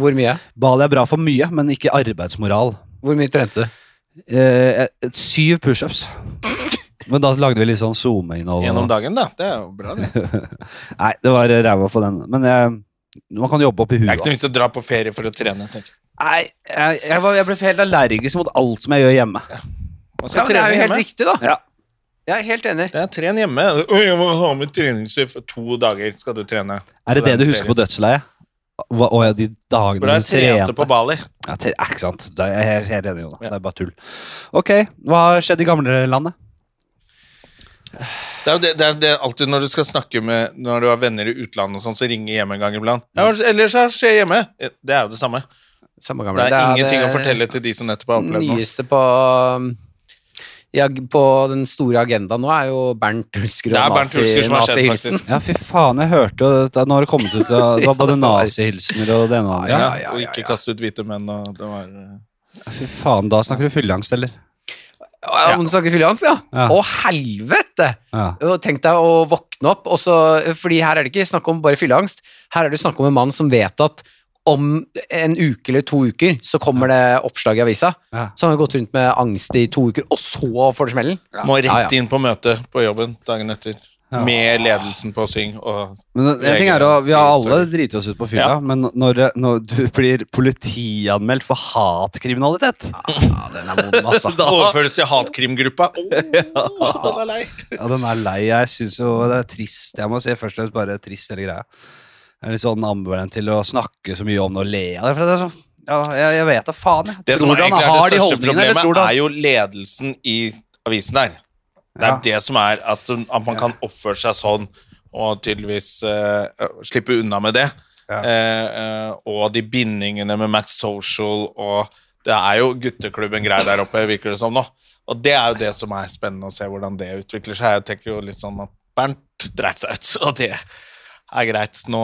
Hvor mye?
Bali er bra for mye, men ikke arbeidsmoral.
Hvor mye trente du?
Eh, et- syv pushups. Men da lagde vi litt sånn zoome-innhold.
Gjennom dagen, da. Det er jo bra, det.
Nei, det var ræva på den. Men jeg, man kan jobbe opp i
Det er ikke
huet.
noe vits å dra på ferie for å trene. tenker jeg.
Nei, jeg, jeg, var, jeg ble helt allergisk mot alt som jeg gjør hjemme.
Man
Ja, men
skal
det er
trene
jo helt
hjemme.
riktig, da.
Ja.
Jeg er helt enig.
Det er tren hjemme. Oi, jeg må ha med treningsstøy for to dager. Skal du trene.
Er det det du
Hvordan
husker på dødsleiet? Hva, å ja, de dagene
For da jeg
du
trente på Bali.
Ja, tre, ja, ikke sant. Da er jeg helt, helt enig, Jonas.
Ja.
Det er bare tull. Ok, hva har skjedd i gamlelandet?
Det er jo det, det er det er alltid når du skal snakke med Når du har venner i utlandet og sånn, så ringer hjem en gang iblant. Ja, ellers så skjer hjemme. Det er jo det samme.
Samme
Det
gamle.
er eh, ingenting å
det
fortelle til de som nettopp har opplevd noe.
Nyeste på ja, på den store agendaen nå er jo Bernt Hulsker
Det er
og
Bernt Hulsker som har skjedd,
nazi-hilsen.
faktisk.
Ja, fy faen, jeg hørte jo dette. Nå har det kommet ut at det var både nazihilsener og det ene og det
Ja,
andre.
ja,
og
ja,
ikke
ja.
kaste ut hvite menn og det var eh,
Fy faen, da snakker du fylleangst, eller?
Ja, Om du snakker fylleangst, ja?
Ja.
Å, helvete!
Ja.
Og Tenk deg å våkne opp, og så, fordi her er det ikke snakk om bare fylleangst. Her er det snakk om en mann som vet at om en uke eller to uker så kommer det oppslag i avisa.
Ja.
Så han har gått rundt med angst i to uker, og så får det smellen.
Må
Ja, ja.
rett inn på møte på jobben dagen etter.
Ja.
Med ledelsen på syng og
Men en ting er å, Vi har alle driti oss ut på fylla,
Ja.
men når, det- når du blir politianmeldt for hatkriminalitet
Ah,
Ja, den er moden, altså.
Overføres til hatkrimgruppa. Oh, Åh, han er lei.
Ja, den er lei. Jeg syns jo det er trist. Jeg må si først og fremst bare trist, hele greia. Jeg er litt sånn ambivalent til å snakke så mye om det og le av det. For det er sånn, ja, jeg, jeg vet da faen. Jeg.
Det som
Tror du han
egentlig er
har
det
de
største
holdningene, eller
problemet,
tror du han-
er jo ledelsen i avisen der. Det er
Ja.
det som er at, um, at man kan oppføre seg sånn og tydeligvis eh, slippe unna med det.
Ja.
Eh, eh, og de bindingene med Max Social og Det er jo gutteklubben greier der oppe, virker det som nå. Og det er jo det som er spennende å se hvordan det utvikler seg. Jeg tenker jo litt sånn at Bernt dreit seg ut, og det er greit. Nå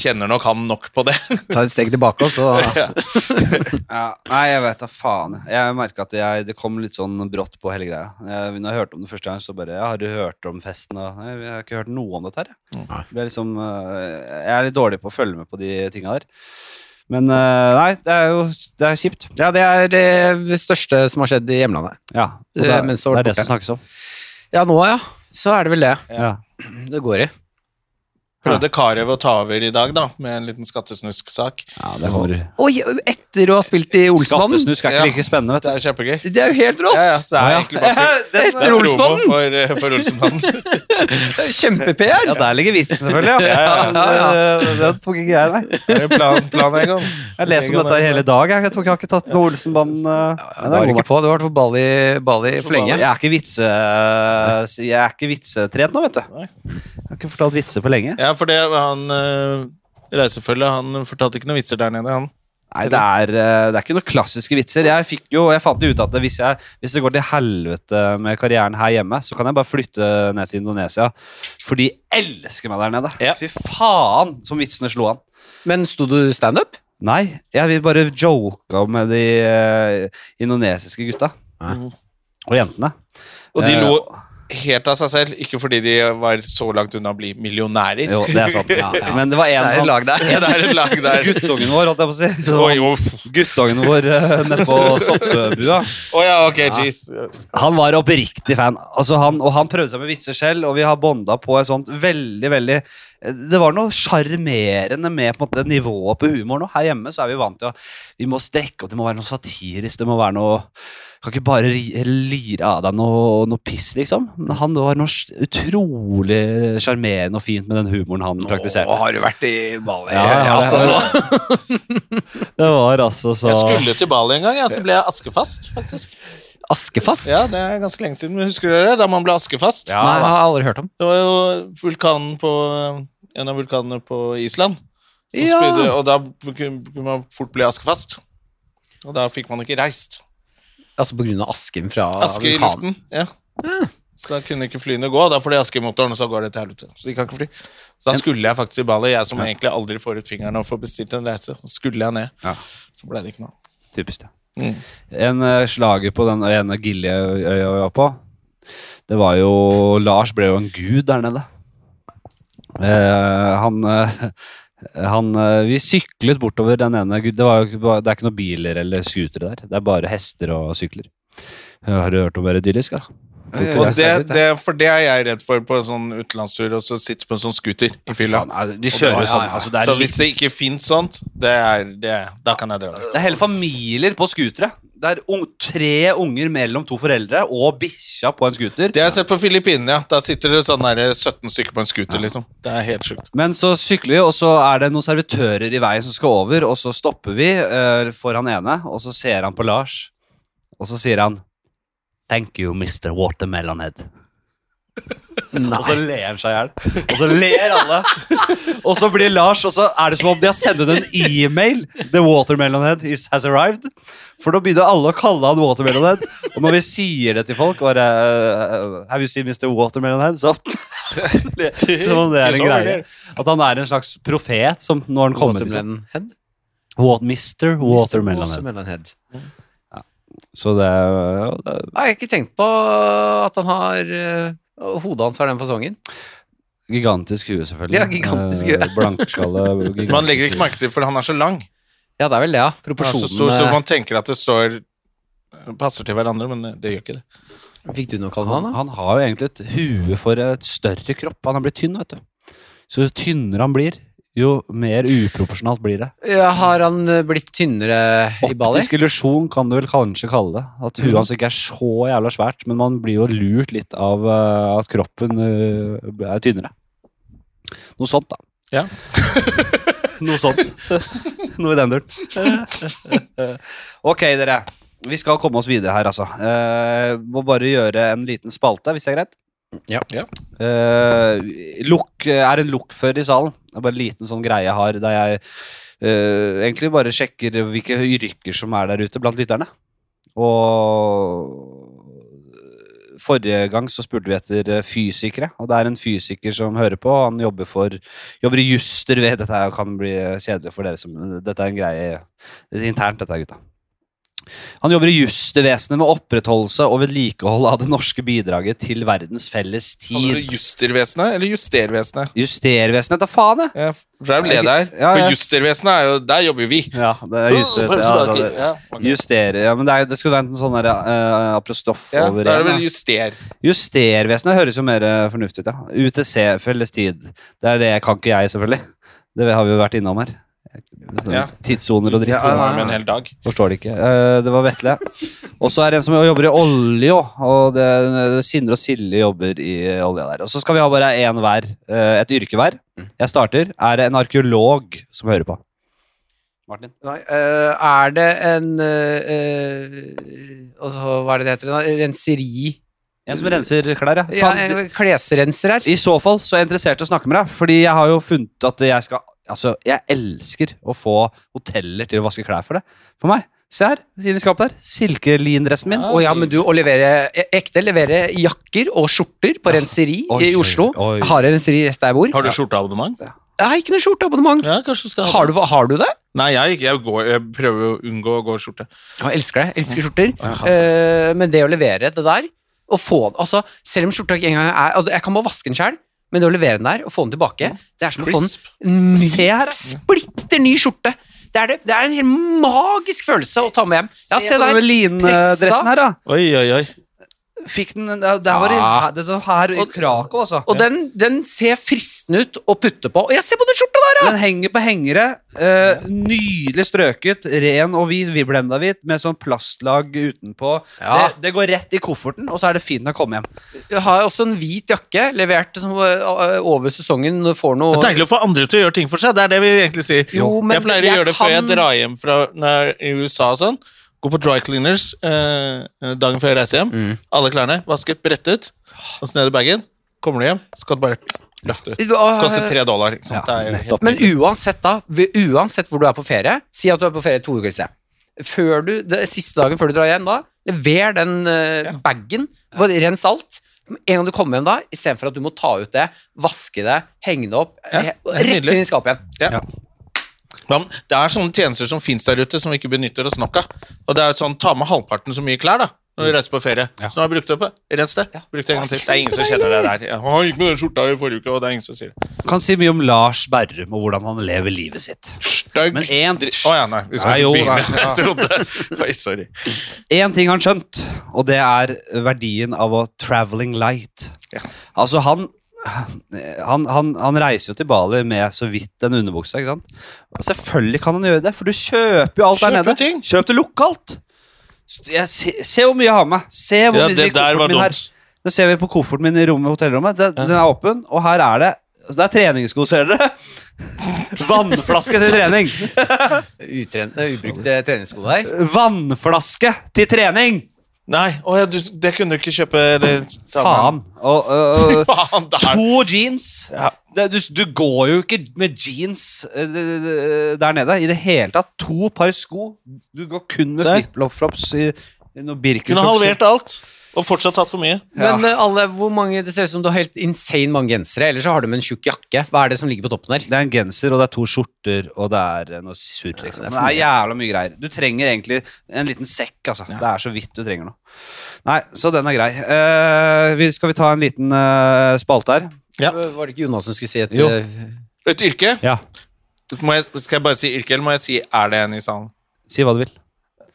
kjenner nok han nok på det.
Ta et steg tilbake, og så
Ja, nei, jeg vet da faen. jeg. Jeg merka at jeg, det kom litt sånn brått på hele greia. Jeg, når jeg hørte om det første gang, så bare ja, Har du hørt om festen? Og, nei, jeg har ikke hørt noe om dette her. Jeg,
Nei.
Ble liksom, øh, jeg er litt dårlig på å følge med på de tinga der. Men øh, nei, det er jo det er kjipt.
Ja, det er det største som har skjedd i hjemlandet.
Ja, og
Eh,
det,
men
er-
så
det
ble
er det
borte.
som snakkes om.
Ja, nå, ja. så er det vel det.
Ja.
Det går i.
Prøvde Karev å ta over i dag, da, med en liten skattesnusk-sak.
ja, det er hår.
Oi, etter å ha spilt i Olsmannen!
Skattesnusk er ikke like spennende,
Det
vet du.
er kjempegøy.
Det er jo helt rått!
Ja, ja, så det er
Ja, ja.
egentlig bare
Det
det
Etter
er promo
Olsmannen!
for, eh, for Olsenmannen.
Kjempe-PR!
Ja, der ligger vitsen, selvfølgelig. Ja.
Ja,
ja,
Den, den tok ikke jeg, nei.
Det er plan, plan en gang.
Jeg leser om dette her hele dag. Jeg, jeg tror ikke jeg har ikke tatt noe eh, Olsenband.
Ja, det var ikke på. Du har vært på Bali, Bali for lenge.
Jeg er ikke vitse... eh, Jeg er ikke vitsetrent nå, vet du.
Nei.
Jeg har ikke fortalt vitser på lenge.
Ja, for det han eh, reisefølget, han fortalte ikke noen vitser der nede, han.
Nei, det er, eh, det er ikke noen klassiske vitser. Jeg, fikk jo, jeg fant jo ut at det- hvis, jeg, hvis det går til helvete med karrieren her hjemme, så kan jeg bare flytte ned til Indonesia. For de elsker meg der nede.
Ja.
Fy faen som vitsene slo an.
Men sto du standup?
Nei, jeg vil bare joka med de eh, indonesiske gutta.
Nei.
Og jentene.
Og de
Eh,
lo helt av seg selv, ikke fordi de var så langt unna å bli millionærer.
Jo, det er sant.
Ja, ja.
Men det var
Det er
en
et
sånn
lag der.
Ja, det er et lag der.
Guttungen vår, holdt jeg på å si.
Å
Så,
jo, f-
guttungen vår eh, nede på soppebua.
å ja, ok, jeez.
Han var oppriktig fan, altså han, og han prøvde seg med vitser selv, og vi har bonda på et sånt veldig, veldig eh, Det var noe sjarmerende med på en måte, nivået på humoren. Og her hjemme så er vi vant til å Vi må strekke opp, det må være noe satirisk, det må være noe Kan ikke bare ri- lire av deg noe, noe piss, liksom. Men han det var noe s- utrolig sjarmerende og fint med den humoren han
Å,
praktiserte.
har du vært i Bali?
Ja, ja, ja.
altså, nå.
Det var altså så
Jeg skulle til Bali en gang, ja, så ble jeg askefast, faktisk.
Askefast?
Ja, det er ganske lenge siden, men husker dere det? Da man ble askefast?
Ja,
Nei, jeg
da.
har aldri hørt om.
Det var jo vulkanen på En av vulkanene på Island. Og,
Ja.
spydde, og da kunne kunne man fort bli askefast. Og da fikk man ikke reist.
Altså på grunn av asken fra
Aske i
vulkanen.
luften. Ja. Så da kunne ikke flyene gå. og Da får de aske i motoren, og så går det til helvete. Så de kan ikke fly. Så da skulle jeg faktisk i Bali, jeg som egentlig aldri får ut fingeren og får bestilt en reise. Så skulle jeg ned.
Ja.
Så ble det ikke noe.
Typisk det.
Mm.
En eh, slager på den ene Giljeøya vi var på, det var jo Lars ble jo en gud der nede. Eh, han eh, han eh, Vi syklet bortover den ene gud- det, var jo, ikke- det er ikke noen biler eller scootere der. Det er bare hester og sykler. Eh, Har du hørt om mer idyllisk, da?
Oi, oi, oi,
Og det,
ser ut,
det, for det er jeg redd for på en sånn utenlandstur, og så sitte på en sånn scooter i fylla.
Faen, nei, de kjører jo
Ja,
sånn.
ja, ja.
Altså, det, er
Så hvis det
litt-
ikke fins sånt, det er, det, da kan jeg dra.
det er hele familier på scootere. Det er ung- tre unger mellom to foreldre og bikkja på en scooter.
Det har jeg sett på Filippinene, ja. Da sitter det sånn der 17 stykker på en scooter, liksom. Det er helt sjukt.
Men så sykler vi, og så er det noen servitører i veien som skal over, og så stopper vi eh, foran ene, og så ser han på Lars, og så sier han Thank you, Mr. Watermelon Head. Og så ler han seg i hjel. Og så ler alle. og så blir Lars, og så er det som om de har sendt ut en e-mail. The Watermelon Head is, has arrived. For da begynner alle å kalle han Watermelon Head. Og når vi sier det til folk, bare eh, Have you seen Mr. Watermelon Head? Så som om det er en greie. At han er en slags profet som nå har han kommet til sånn.
Watermelon Head?
Wa- Mr. Watermelon Head.
Watermelon Head.
Så det, ja, det er
Jeg har ikke tenkt på at han har eh, Hodet hans har den fasongen.
Gigantisk hue, selvfølgelig.
Ja, gigantisk hue.
Eh, Blankskalle. gigantisk
Man legger ikke
hue.
merke til for han er så lang.
Ja, det er vel det, ja.
Han er så,
Proporsjonene
stor, så man tenker at det står eh, Passer til hverandre, men eh, det- det gjør ikke det.
eh, Fikk du noe kalt
Han,
han, da?
han har jo egentlig et hue for et større kropp. Han har blitt tynn, vet du. Så jo tynnere han blir, jo mer uproporsjonalt blir det.
Ja, har han eh, blitt tynnere i Bali?
Optisk illusjon kan du vel kanskje kalle det. At huet hans ikke er så jævla svært, men man blir jo lurt litt av eh, at kroppen eh, er tynnere. Noe sånt, da.
Ja.
Noe sånt. Noe i den duren. ok, dere. Vi skal komme oss videre her, altså. Eh, må bare gjøre en liten spalte, hvis det er greit.
Ja.
Ja.
Eh, lukk er en lukk før i salen. Det er bare en liten sånn greie jeg har der jeg eh, egentlig bare sjekker hvilke yrker som er der ute blant lytterne. Og forrige gang så spurte vi etter eh, fysikere, og det er en fysiker som hører på. Han jobber, for, jobber i Juster. eh, Dette her kan bli kjedelig for dere. Som, dette er en greie det er internt, dette, her, gutta. Han jobber i justevesenet med opprettholdelse og vedlikehold av det norske bidraget til verdens felles
Kaller
tid.
du det Justervesenet eller Justervesenet?
Justervesenet, da faen, jeg!
Jeg drev og ledde her.
Ja, ja.
For Justervesenet, er jo, der jobber jo vi.
Ja, det er justervesenet. Ja, det er-
Ja, ok.
Justere, ja, men det, er, det skulle vært en sånn der, eh, apostrof
Ja,
over
da er det
igjen,
vel
ja.
juster.
Justervesenet høres jo mer eh, fornuftig ut, ja. UTC, felles tid. Det er det kan ikke jeg, selvfølgelig. Det har vi jo vært innom her. Det er sånn
Ja.
Tidssoner og dritt.
Ja,
Det
ja,
var
ja.
jo en hel dag.
Forstår det ikke. Eh, det var Vetle. Og så er det en som jobber i olje òg. Og det, eh, Sindre og Silje jobber i olja der. Og så skal vi ha bare én hver. eh, et yrke hver. Jeg starter. Er det en arkeolog som hører på? Martin?
Nei, eh, er det en eh, eh, altså, Hva er det det heter? En renseri
En som renser klær, ja.
ja,
Faen,
en Klesrenser her?
I så fall så er jeg interessert i å snakke med deg, fordi jeg har jo funnet at jeg skal Altså, jeg elsker å få hoteller til å vaske klær for det. For meg. Se her, inni skapet der. Silkelindressen min.
Ja.
Å ja, men du, å levere e, ekte levere jakker og skjorter på renseri i
Oi,
Oslo.
oi.
Jeg har en renseri rett der jeg bor.
Har du skjorteabonnement?
Jeg har ikke noe skjorteabonnement.
Ja, kanskje du skal ha
Har, du, har du det?
Nei, jeg, jeg, går, jeg prøver å unngå å gå i skjorte.
Jeg elsker det. jeg Elsker skjorter.
Ja.
Eh, men det å levere det der og få det, altså, Selv om skjorta ikke engang er altså, Jeg kan bare vaske den sjøl, men det å levere den der og få den tilbake Det er som å få
Crisp.
en ny,
Se her, da.
splitter ny skjorte. Det er, det, det er en helt magisk følelse å ta med hjem. Ja, se
på
der.
denne lindressen her, da.
Oi, oi, oi.
Fikk den det, det var i,
Ja.
det var her i
Og-
Krakow, altså.
Og den, den ser fristende ut å putte på. Og jeg ser på den skjorta der, ja!
Den henger på hengere. Eh, nydelig strøket, ren og hvit, vi blenda hvit, med sånn plastlag utenpå.
Ja.
Det, det går rett i kofferten, og så er det fint å komme hjem.
Jeg har også en hvit jakke, levert som, øh, over sesongen. Får
Det
noe
er deilig å få andre til å gjøre ting for seg. Det er det vi egentlig sier.
Jo, men
jeg pleier å
jeg
gjøre det før jeg
kan-
drar hjem fra når, i USA og sånn. Gå på dry cleaners eh, dagen før jeg reiser hjem. Alle klærne vasket, brettet, og så ned i bagen. Kommer du hjem, så kan du bare løfte ut.
Øh,
Koster tre dollar. Ikke
Ja,
sant? det er jo
nettopp.
helt...
eh, Men uansett da, vi- uansett hvor du er på ferie, si at du er på ferie to uker siden. Før du, det, siste dagen før du drar hjem da, lever den uh, baggen, bare rens alt. En gang du kommer hjem da, i stedet for at du må ta ut det, vaske det, henge det opp,
Ja,
eh,
det er
rett
nydelig.
inn i skapet igjen.
Ja. Ja, men det er sånne tjenester som fins der ute, som vi ikke benytter oss nok av. Og det er jo sånn, Ta med halvparten så mye klær da når du reiser på ferie.
Ja.
Så nå har du brukt det opp. Rens det. Bruk det en gang til. Det er ingen som kjenner det der. Jeg «Å, gikk med den skjorta i forrige uke, og det er ingen som sier det.
Kan si mye om Lars Berrum og hvordan han lever livet sitt.
Stygg.
Men én
Å ja, nei. Vi skal
Nei, jo,
ikke begynne.
nei, ja.
Jeg trodde Oi, sorry.
én ting har han skjønt, og det er verdien av å traveling light. Altså, han han, han, han reiser jo til Bali med så vidt en underbukse. ikke sant? Og Selvfølgelig kan han gjøre det, for du kjøper jo alt
Kjøper
der nede.
ting.
Kjøp det lokalt! S- Jeg, se, se hvor mye jeg har med. Se hvor
Ja,
mye
det
i
der
kofferten
var
min her.
dumt.
Det ser vi på kofferten min i rommet, hotellrommet. Den, den er åpen, og her er det altså, Det er treningssko, ser dere. Vannflaske til trening.
Utrente, ubrukte eh, treningssko der.
Vannflaske til trening!
Nei, å, ja, du, det kunne du ikke kjøpe eller, ta med.
Faen. Og, og, og,
Faen, der.
To jeans.
Ja.
Det, du, du går jo ikke med jeans eh, det- det- der nede i det hele tatt. To par sko. Du går kun med
Se.
flipflops i i noen Birkenstocks.
Kunne halvert alt og fortsatt tatt for mye.
Ja.
Men eh, alle, hvor mange, det ser ut som du har helt insane mange gensere, eller så har du med en tjukk jakke. Hva er det som ligger på toppen der?
Det er en genser, og det er to skjorter, og det er eh, noe surr. Liksom.
Ja, det er
Det,
for
er jævla mye greier. Du trenger egentlig en liten sekk, altså. Det er så vidt du trenger noe. Nei, så den er grei. Eh, vi, skal vi ta en liten eh, spalte her?
Ja.
Øh, Var det ikke Jonas som skulle si et
Jo.
øh,
Et yrke?
Ja.
Må jeg, skal jeg bare si yrke, eller må jeg si er det en i salen?
Si hva du vil.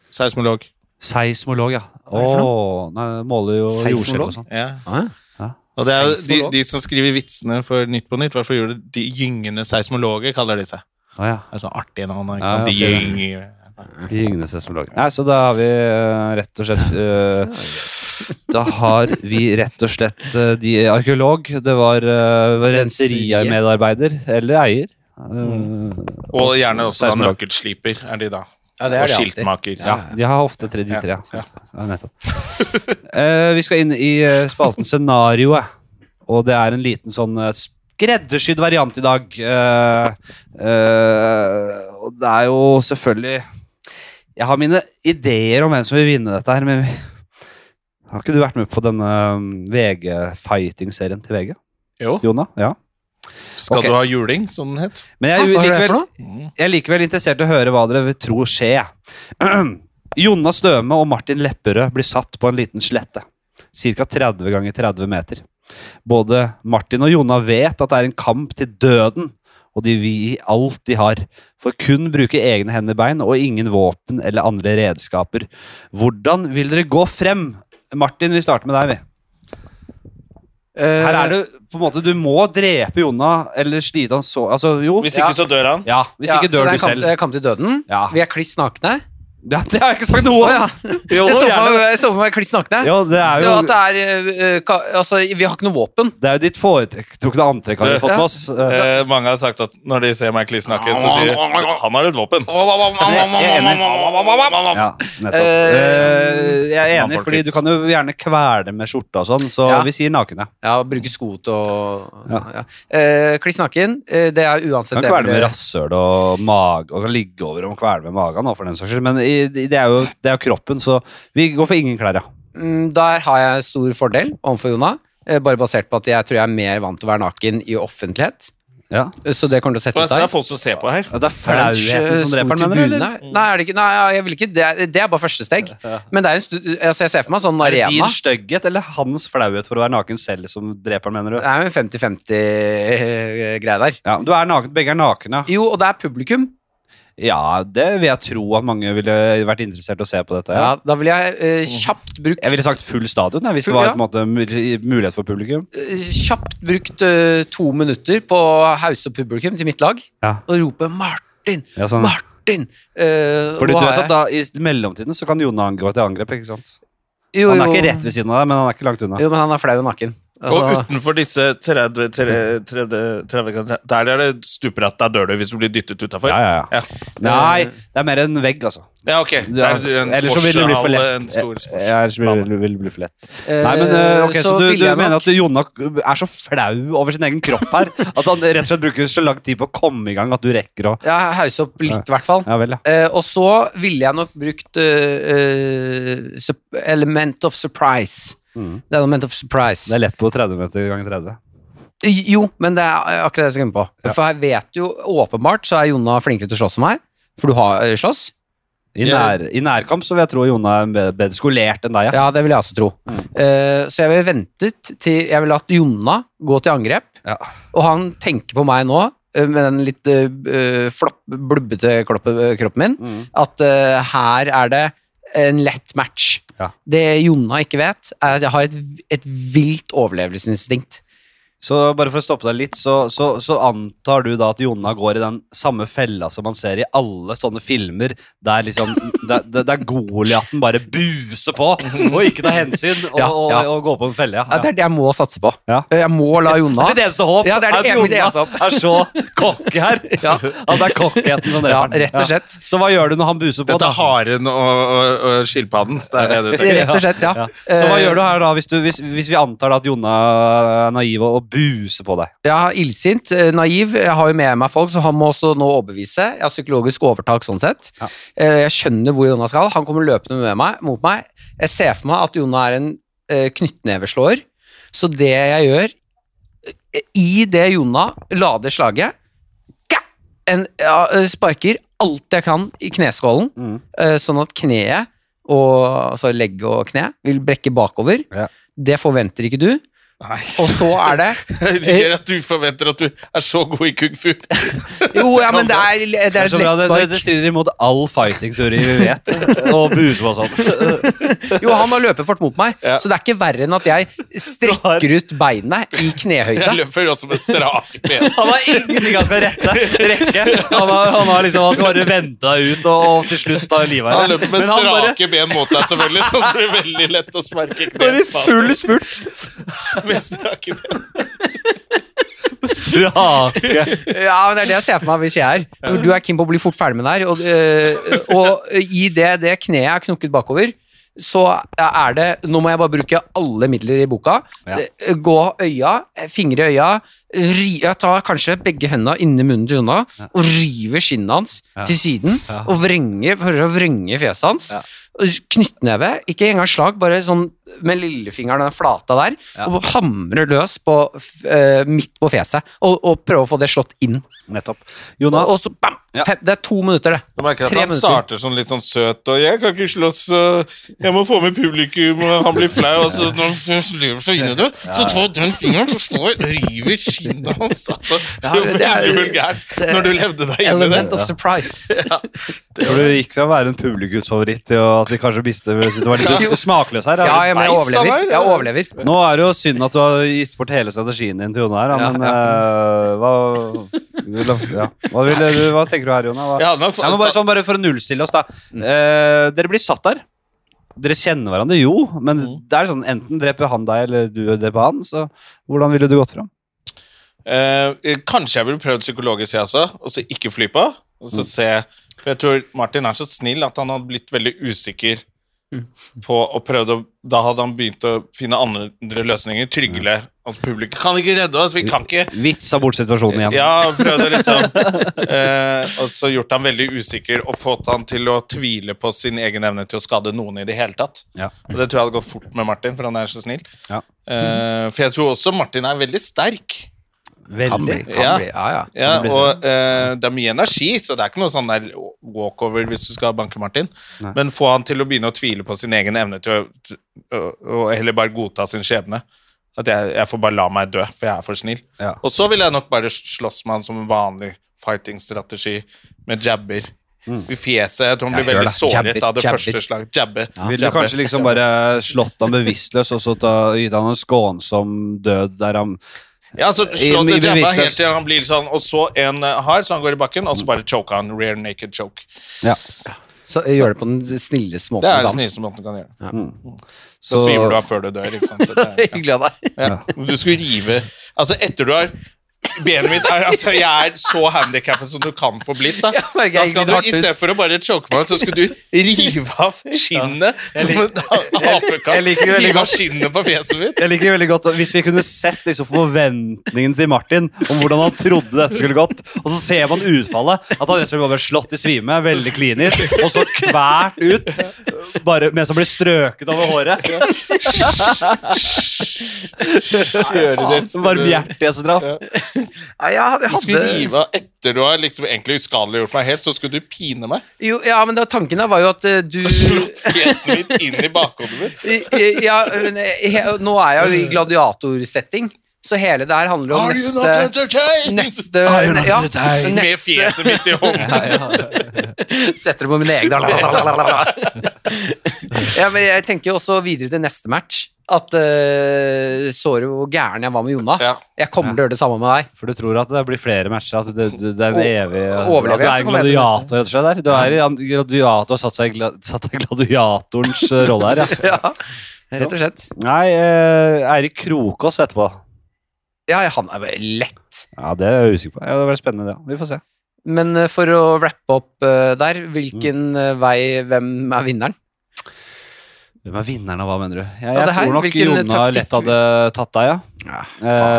Seismolog.
Seismolog, ja.
er det for
Åh, nei, måler jo jordskjelv
Seismolog?
og sånn.
Ja.
Hæ?
Og det er jo de,
Seismolog?
de som skriver vitsene for Nytt på Nytt, hvertfall gjør det de gyngende seismologer, kaller de seg.
Å, ja.
Det er sånn artig navn, ikke
Ja,
sant?
jeg ser
De
det.
gynger.
Ringnes seismolog. Nei, så da har vi eh, rett og slett eh, Da har vi rett og slett eh, de arkeolog, det var uh, renserimedarbeider eller eier. eh,
Mm.
Og gjerne også da
seismolog.
nøkkelsliper, er de da.
Ja, det
Og
er det alltid.
skiltmaker.
Ja, de har ofte tre, de
Ja,
tre. Ja. Ja, nettopp. Eh, vi skal inn i eh, spalten Scenarioet, og det er en liten sånn eh, skreddersydd variant i dag. Eh, eh, og det er jo selvfølgelig Jeg har mine ideer om hvem som vil vinne dette her, men har ikke du vært med på denne um, VG-fighting-serien til VG?
Jo.
Jona? Ja.
Skal
Ok.
du ha juling, som den het?
Men
Hva
jeg,
er det
likevel,
for noe?
Mm.
jeg er likevel interessert i å høre hva dere vil tro skje. Jonna Støme og Martin Lepperød blir satt på en liten slette. Ca. 30 ganger 30 meter. Både Martin og Jonna vet at det er en kamp til døden, og de vil gi alt de har, for kun bruke egne hender og bein og ingen våpen eller andre redskaper. Hvordan vil dere gå frem? Martin, vi starter med deg, vi.
Eh,
Her er det på en måte Du må drepe Jonna eller slite han så Altså, jo.
Hvis ikke, så dør han.
Ja, hvis ikke dør du selv.
Kamp, kamp til døden.
Ja.
Vi er kliss nakne.
Ja, det har jeg ikke sagt noe
Å
om!
ja.
Jo,
Jeg så
gjerne.
for meg- jeg så for meg kliss nakne.
Ja, det er
Det
jo
var at det er eh, ka, Altså, vi har ikke noe våpen.
Det er jo ditt foretrukne antrekk har vi fått med oss. Eh,
Eh, mange har sagt at når de ser meg klissnaken, så sier de han har et våpen.
Ja, nettopp.
Eh,
Eh, Jeg er enig,
mannfolk
fordi du
litt.
kan jo gjerne kvele med skjorta og sånn, så
Ja.
vi sier nakne.
Ja, bruke sko til å ja.
Ja.
Eh, kliss naken, eh, det er uansett
Kan
det
kvele med
blir-
rasshøl og mage, og kan ligge over og kvele med magen nå, for den saks skyld, men i- det er, jo, det er jo kroppen, så vi går for ingen klær, ja.
Mm, Der har jeg stor fordel overfor Jona, eh, bare basert på at jeg tror jeg er mer vant til å være naken i offentlighet. Eh,
ja.
Så det kommer til å sette
Og jeg
ut
ser det
der.
er folk som ser på her.
Ja, Det er flauheten liksom,
eh,
som dreper den, mener du? eller?
Mm. Nei, er det ikke? Nei, jeg vil ikke. Det, er, det er bare første steg. Men det er en stu, altså jeg ser for meg en sånn
Er det din
arena.
stygghet eller hans flauhet for å være naken selv som dreper den, mener
Det
du?
er jo en 50-50-greie der.
Ja, du er naken, Begge er nakne. ja.
Jo, og det er publikum.
Ja, det vil jeg tro at mange ville vært interessert i å se på dette.
Ja, da ville jeg eh, kjapt brukt
Mm. Jeg ville sagt full stadion jeg, hvis det
Full,
var
ja.
på en måte mul- mulighet for publikum.
eh, Kjapt brukt eh, to minutter på å hause opp publikum til mitt lag
Ja.
og rope 'Martin!
Ja, sånn.
Martin!' Uh,
Fordi du vet at da I mellomtiden så kan Jonna angå til angrep. ikke sant?
jo,
Han er ikke
jo.
rett ved siden av deg, men han er ikke langt unna.
Jo, men han er flau og naken.
Og
Altså,
utenfor disse 30, 30, 30, 30 Der er det stuperatt. Der dør du hvis du blir dyttet utafor.
Ja, ja, ja.
Ja.
Nei, det er mer en vegg, altså.
ja, ok. Det
Ja,
er en
ellers så vil det bli for
sportshall, en
lett.
stor sports-
Ja, ellers vil det vil det bli for lett.
eh,
Nei, men eh, ok, Så, du,
ville
du
jeg nok-
mener at Jonna er så flau over sin egen kropp her at han rett og slett bruker så lang tid på å komme i gang at du rekker å
Ja, hause opp litt, i hvert fall.
Ja vel, ja.
Eh, og så ville jeg nok brukt eh, eh, sup- element of surprise.
Mhm.
Det er element of surprise. Eh,
Det er lett på 30 meter ganger 30.
Jo, men det er akkurat det jeg skal komme på. For jeg vet jo åpenbart så er Jonna flinkere til å slåss enn meg. For du har eh, slåss?
I, nær, I nærkamp så vil jeg tro Jonna er bedre- bedre skolert enn deg.
Ja, det vil jeg også tro.
Mm.
Eh, så jeg ville ventet til Jeg ville latt Jonna gå til angrep,
Ja.
og han tenker på meg nå eh, med den litt eh, eh, flopp, blubbete kloppe- eh, kroppen min,
Mm.
at eh, her er det en lett match.
Ja.
Det Jonna ikke vet, er at jeg har et, et vilt overlevelsesinstinkt.
Så bare for å stoppe deg litt, så, så, så antar du da at Jonna går i den samme fella som man ser i alle sånne filmer, der liksom Der, der, der Goliaten bare buser på og ikke tar hensyn og,
Ja, ja.
og, og går på en felle.
Ja.
Ja. Ja.
Det er det jeg må satse på.
Ja.
Eh, Jeg må la Jonna
Mitt eneste håp
Ja, det er
at
det ene- mitt eneste
Jonna
håp.
er så cocky her.
Ja.
At det er cockheten som
ja,
dreper den.
Rett og slett.
Ja. Så hva gjør du når han buser på?
Dette er
da?
haren og, og, og skilpadden. Det er det du tenker.
Rett og slett, ja.
Ja. Så
Eh.
hva gjør du her da, hvis, du, hvis, hvis vi antar da at Jonna er naiv og, og buser på deg?
Jeg er illsint, eh, naiv. Jeg har jo med meg folk, så han må også nå overbevise. Jeg har psykologisk overtak sånn sett.
Ja.
Eh, Jeg skjønner hvor Jonna skal. Han kommer løpende med meg, mot meg. Jeg ser for meg at Jonna er en eh, knyttneveslåer. Så det jeg gjør eh, I det Jonna lader slaget ga! en, ja, eh, Sparker alt jeg kan i kneskålen,
Mm.
eh, sånn at kneet, og, altså legg og kne, vil brekke bakover.
Ja.
Det forventer ikke du.
Nei.
Og så er det
Jeg liker at du forventer at du er så god i kung fu.
Jo, ja, men det er, det er
Det,
et
er så bra, det, det,
lettspark.
det strider imot all fighting-teori vi vet. Og buse på sånn.
Jo, han må løpe fort mot meg,
Ja.
så det er ikke verre enn at jeg strekker ut beinet i
Jeg
knehøyde.
løper også med strake ben.
Han har ingenting han skal rette, rekke. Han, har, han, har liksom, han skal bare vente deg ut og, og til slutt ta livet
Han
av deg.
løper med
Men han bare
strake ben mot deg, selvfølgelig, så det blir veldig lett å
går
sparke
i
kneet på
full spurt.
han med strake ben.
Strake.
Ja, men Det er det jeg ser for meg hvis jeg er. Når Du er keen på å bli fort ferdig med det her, og, øh, og i det, det kneet er knukket bakover, så er det Nå må jeg bare bruke alle midler i boka.
Ja.
Eh, Gå øya, fingre i øya, ri, jeg tar kanskje begge hendene inni munnen til Jonna og river skinnet hans
Ja.
til siden
Ja.
og vrenger, prøver å vrenge fjeset hans.
Ja.
Knyttneve, ikke engang slag, bare sånn med lillefingeren den flata der,
Ja.
og hamrer løs på, f- eh, midt på fjeset, og, og prøver å få det slått inn.
Nettopp.
Og,
Jonas,
og så bam!
Ja.
Fem, det er to minutter, det.
Jeg merker at
Tre
han
minutter.
starter som litt sånn søt og 'Jeg kan ikke slåss, øh, jeg må få med publikum', og han blir flau, og så når han lever så inni det, så tar jeg den fingeren så står jeg og river skinnet hans. Altså, det er jo
det er-
veldig vulgært når du levde deg inn i det.
Element of surprise.
for du gikk fra å være en publikumsfavoritt til å- at vi kanskje mistet vi syntes det var litt smakløs her.
Ja, jeg, men jeg
beist,
overlever.
eller?
Jeg overlever.
Nå er det jo synd at du har gitt bort hele strategien din til Jone her, da,
Ja,
men eh, hva, ja. hva, ville du, hva tenker du her, Jone? Hva?
Jeg hadde nok
Ja, men bare,
ta-
sånn, bare for å nullstille oss, da. Eh, dere blir satt der. Dere kjenner hverandre, jo, men det er sånn enten dreper han deg, eller du dreper han. Så hvordan ville du gått fram?
Eh, kanskje jeg ville prøvd psykologisk, jeg også, og så ikke fly på. Og
Mm.
så se For jeg tror Martin er så snill at han hadde blitt veldig usikker
Mm.
på og prøvd å Da hadde han begynt å finne andre løsninger. Trygle at publikum Kan ikke redde oss, vi kan ikke
Vitsa bort situasjonen igjen.
Ja, prøvd å liksom eh, Og så gjort han veldig usikker og fått han til å tvile på sin egen evne til å skade noen i det hele tatt.
Ja.
Og det tror jeg hadde gått fort med Martin, for han er så snill.
Ja.
Eh, for jeg tror også Martin er veldig sterk.
Kan bli,
Veldig.
kan
Ja.
bli. Ja, ja.
Ja,
Det blir sånn.
og eh, det er mye energi, så det er ikke noe sånn der walkover hvis du skal banke Martin.
Nei.
Men få han til å begynne å tvile på sin egen evne til å, å- å heller bare godta sin skjebne. At jeg, jeg får bare la meg dø, for jeg er for snill.
Ja.
Og så vil jeg nok bare slåss med han som en vanlig fighting-strategi med jabber.
Mm.
I fjeset. Jeg tror
Ja,
han blir
gjør
veldig
det.
såret
Jabber,
av det
jabber.
første slaget. Jabbe.
Ville du
jabbe.
kanskje liksom bare slått han bevisstløs og så ta- gitt han en skånsom død der han
Ja, så slå
I-
det
i bevissthet.
jabba
Mm.
helt til han blir sånn, og så en eh, hard, så han går i bakken, og så bare choke han. Rear naked choke.
Ja.
Så jeg gjør det på den snilleste måten
Det er
du
den
kan.
snilleste måten du kan gjøre det.
Mm.
Så,
Så,
svimer du av før du dør. ikke sant? Det er-
Hyggelig av deg.
ja. Du skulle rive Altså, etter du har Benet mitt er altså, Jeg er så handikappet som du kan få blitt. da.
Jeg merker jeg
da
gikk
skal
litt
du,
hardt ut.
Istedenfor å bare choke meg, så skulle du rive av skinnet som en
jeg liker
apekatt.
veldig
Rive av
godt.
skinnet på fjeset mitt.
Jeg liker veldig godt Hvis vi kunne sett liksom forventningene til Martin om hvordan han trodde dette skulle gått, og så ser man utfallet. At han rett og slett bare ble slått i svime, veldig klinisk, og så kvært ut. Bare mens han ble strøket over håret. Varmhjertighetsdrap.
Ja, jeg
Du skulle
hadde
rive av etter du har liksom egentlig uskadeliggjort meg helt, så skulle du pine meg.
jo, Ja, men da, tanken da var jo at eh, du
Mm.
Slått fjeset mitt inn i bakhodet mitt.
I- i- ja, men eh, he- Nå er jeg jo i gladiatorsetting, så hele det her handler om
Are you not
neste
entertained?
Neste,
you not
ja,
entertained?
Med
neste
fjeset mitt i hånden.
ja, ja. Setter det på mine egne lalalala. ja, men Jeg tenker jo også videre til neste match. At uh, så du hvor gæren jeg var med Jonna.
Ja.
Jeg kommer til å gjøre det samme med deg.
For du tror at det blir flere matcher? At det, det, det er en
O-
evig
overlever
at Du
jeg, så
er
kommer jeg til
gladiator, rett og slett? der. Du er i en gladiator satt seg i gla- satt deg i gladiatorens eh, rolle her, ja.
Ja, Rett og slett.
Nei, eh, Eirik Krokås etterpå.
Ja, han er vel lett.
Ja, Det er jeg usikker på. Ja, det blir spennende, det. Vi får se.
Men eh, for å rappe opp eh, der, hvilken
Mm.
eh, vei Hvem er vinneren?
Hvem er vinneren av hva, mener du? Jeg,
Ja, det
jeg
her,
tror nok
hvilken
Jonna
taktikk-
lett hadde tatt deg, ja.
Ja,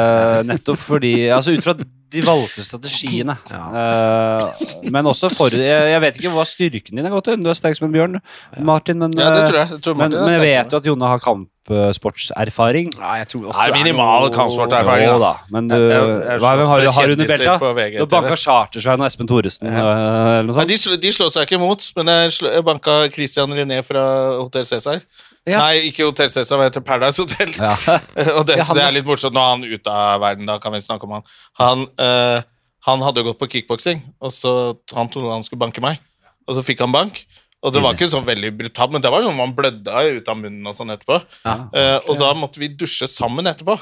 Eh, nettopp fordi Altså ut fra de valgte strategiene. Eh, men også for jeg, jeg vet ikke hva styrken din er gått til. Du er sterk som en bjørn, Martin. Men,
Ja, det
eh,
tror jeg. jeg tror
men,
Martin er
men jeg
sterk.
vet jo at Jonna har kampsportserfaring.
Nei, jeg tror også
Nei,
det er
minimal
noe-
kampsporterfaring,
Jo
da.
da, men du, hva hvem
sånn
har, har du under belta? Du har banka Chartersveien og Espen Thoresen eh, eller noe
Nei,
sånt.
de, sl- de slår seg ikke imot, men jeg, sl jeg banka Christian René fra Hotel Cæsar.
Ja.
Nei, ikke Hotel Cæsar, men heter Paradise Hotel.
Ja.
og det,
Ja, han-
det er litt morsomt. Nå er han ute av verden, da kan vi snakke om han. Han, eh, han hadde jo gått på kickboksing, og så t- han trodde han skulle banke meg. Og så fikk han bank. Og det var ikke sånn veldig brutalt, men det var sånn man blødde ut av munnen og sånn etterpå.
Ja.
Eh, og da måtte vi dusje sammen etterpå.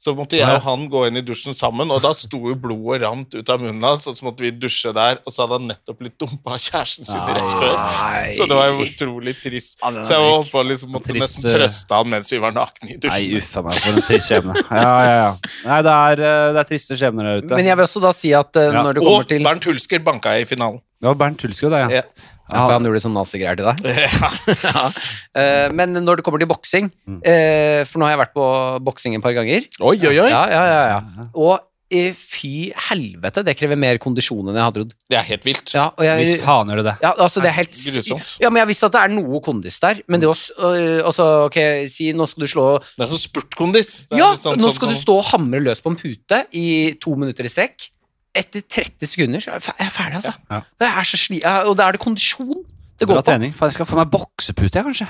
Så måtte jeg og han gå inn i dusjen sammen, og da sto jo blodet rant ut av munnen hans. Og så måtte vi dusje der, og så hadde han nettopp blitt dumpa av kjæresten sin rett før.
Nei.
Så det var jo utrolig trist.
Ja, den er
Så jeg holdt på å liksom, måtte
Trist,
eh,
nesten trøste han mens vi var nakne i
Nei,
dusjen.
uff a meg, for en trist skjebne. Ja, ja, ja. Nei, det er, eh, det er triste skjebner der ute.
Men jeg vil også da si at eh,
Ja.
når det kommer
Og
til
Bernt Hulsker banka jeg i finalen.
Det var Bernt Hulsker, det, ja.
Ja.
Ja, for han gjorde sånn nazigreier til deg. Eh, men når det kommer til
Mm.
boksing, eh, for nå har jeg vært på boksing et par ganger
Oi, oi, oi!
Ja, ja, ja, ja. Og eh, fy helvete, det krever mer kondisjon enn jeg hadde trodd.
Det er helt vilt.
Ja, og jeg,
Hvis faen gjør det det.
ja, altså, det er helt
Grusomt. Mm.
Ja, men jeg visste at det er noe kondis der, men det å s- øh, Altså, ok, si nå skal du slå
Det er sånn spurtkondis. Det er
Ja,
litt sånn-
nå
sånn
skal du
som-
stå og hamre løs på en pute i to minutter i strekk. Etter 30 sekunder så er jeg fe- jeg er ferdig, altså.
Ja.
Jeg er så sli jeg- og da er det kondisjon det
Bra
går på.
trening. Faen, jeg skal få meg boksepute, jeg, kanskje.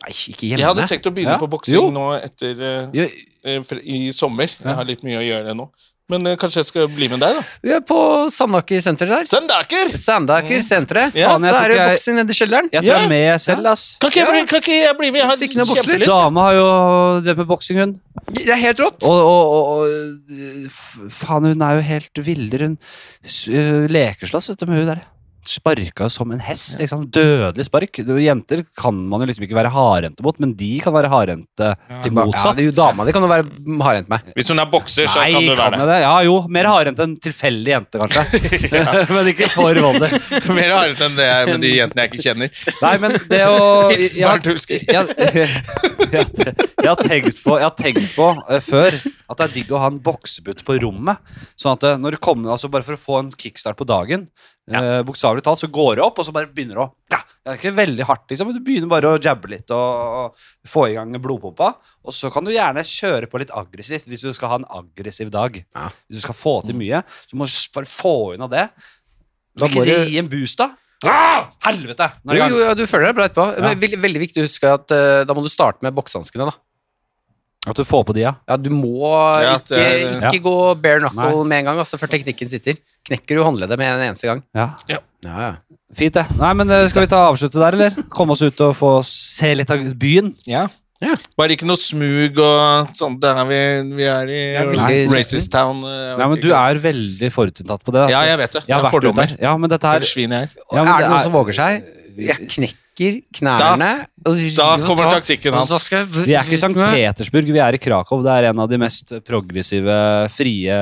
Nei, ikke hjemme.
Jeg hadde tenkt å begynne
Ja.
på
Jo.
boksing nå etter eh,
Jo,
eh, fre- i sommer.
Ja.
Jeg har litt mye å gjøre nå. Men eh, kanskje jeg skal bli med deg, da.
Vi er på Sandaker senteret der.
Sandaker!
Sandaker senteret.
Ja,
Faen,
jeg
så
tror
er det
ikke jeg-
boksing nede i kjelleren.
Jeg tar
Ja.
med selv, ass.
Kan ikke jeg bli, kan ikke jeg bli med? Jeg
Stikk ned og
har
bokse litt.
kjempelyst.
Dama har jo drevet med boksing, hun.
Det er helt rått.
Og, og, og, og f- faen, hun er jo helt villere. Hun s- øh, lekeslåss vet du, med hun der. Sparka som en hest. Ikke sant? Dødelig spark. Du, jenter kan man jo liksom ikke være hardhendte mot, men de kan være hardhendte til
Ja,
motsatt.
det er jo dama di kan jo være hardhendt meg.
Hvis hun er bokser, så
Nei,
kan du
kan
være det.
jeg det? Ja jo, mer hardhendt enn tilfeldig jente, kanskje. men ikke for voldelig.
Mer hardt enn det jeg- med de jentene jeg ikke kjenner.
Nei, men det å
Hilsen
jeg-
Bernt Hulsker.
jeg, jeg, jeg, jeg, har tenkt på, jeg har tenkt på eh, før at det er digg å ha en boksepute på rommet. Sånn at eh, når du kommer, altså bare for å få en kickstart på dagen, eh, bokstavelig talt, så går det opp, og så bare begynner det å ja, Det er ikke veldig hardt, liksom, men du begynner bare å jabbe litt og, og få i gang blodpumpa. Og så kan du gjerne kjøre på litt aggressivt hvis du skal ha en aggressiv dag.
Ja. Mm.
Hvis du skal få til mye, så må du s- bare få unna det.
Da
Ikke
må du-
gi en boost, da. Ah, helvete! Nå er det i
Jo,
gang.
jo, ja, du føler deg bra etterpå.
Ja.
Men veldig, veldig viktig å huske at eh, da må du starte med boksehanskene, da.
At du får på de, ja.
Ja, du må
Ja, at
ikke,
det-
ikke gå bare knuckle med en gang, altså, for teknikken sitter. Knekker du håndleddet med en eneste gang.
ja.
Ja, ja.
Fint, det. Nei, men eh, Skal vi ta avslutte der, eller? Komme oss ut og få se litt av byen?
Ja.
Ja.
Bare ikke noe smug og sånt. Der er vi, vi er i
er veldig-
racist town. eh,
Nei, men Du er veldig forutinntatt på det. da.
Ja, jeg vet det.
Jeg
Det
har
er
vært ute
fordommer.
der. Ja, men dette
For
her
et svin jeg er.
ja, men
er det noen som våger seg? Jeg knekker knærne. og
Da
river og
kommer
tar-
taktikken
og
hans.
så skal jeg-
Vi er ikke i St. Petersburg, vi er i Krakow. Det er en av de mest progressive, frie,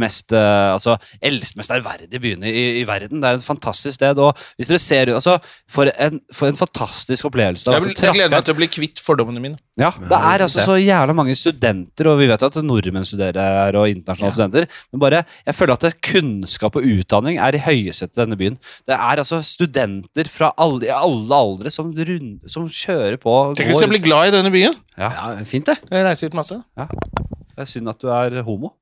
mest eh, altså, eldst, mest ærverdige byene i, i verden. Det er et fantastisk sted. Og hvis dere ser altså, For en, for en fantastisk opplevelse. å
Jeg, vil, jeg
traske-
gleder meg til å bli kvitt fordommene mine.
Ja, det
det
er
synes
altså
jeg.
så jævla mange studenter, og vi vet jo at nordmenn studerer her, og internasjonale studenter, men bare, jeg føler at det, kunnskap og utdanning er i høyesetet i denne byen. Det er altså studenter fra alle, i alle aldre som, rund, som kjører på. og
Tenk hvis
går.
jeg blir glad i denne byen.
Ja, fint, det.
Jeg reiser hit masse.
Det er synd at du er homo.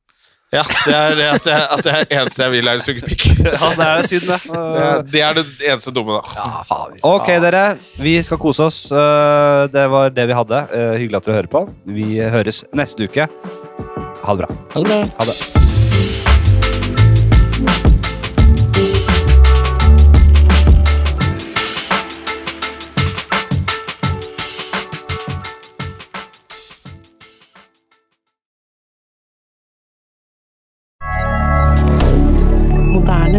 Ja, det er det, at det, at det er eneste jeg vil, er å suge pikk.
Ja, det er synd det.
Det er- Det er det eneste dumme, da.
Ja, fader.
Ok,
Ja.
dere. Vi skal kose oss. Eh, Det var det vi hadde. Eh, Hyggelig at dere hører på. Vi høres neste uke. Ha det bra.
Ha det bra.
Ha det.
Moderne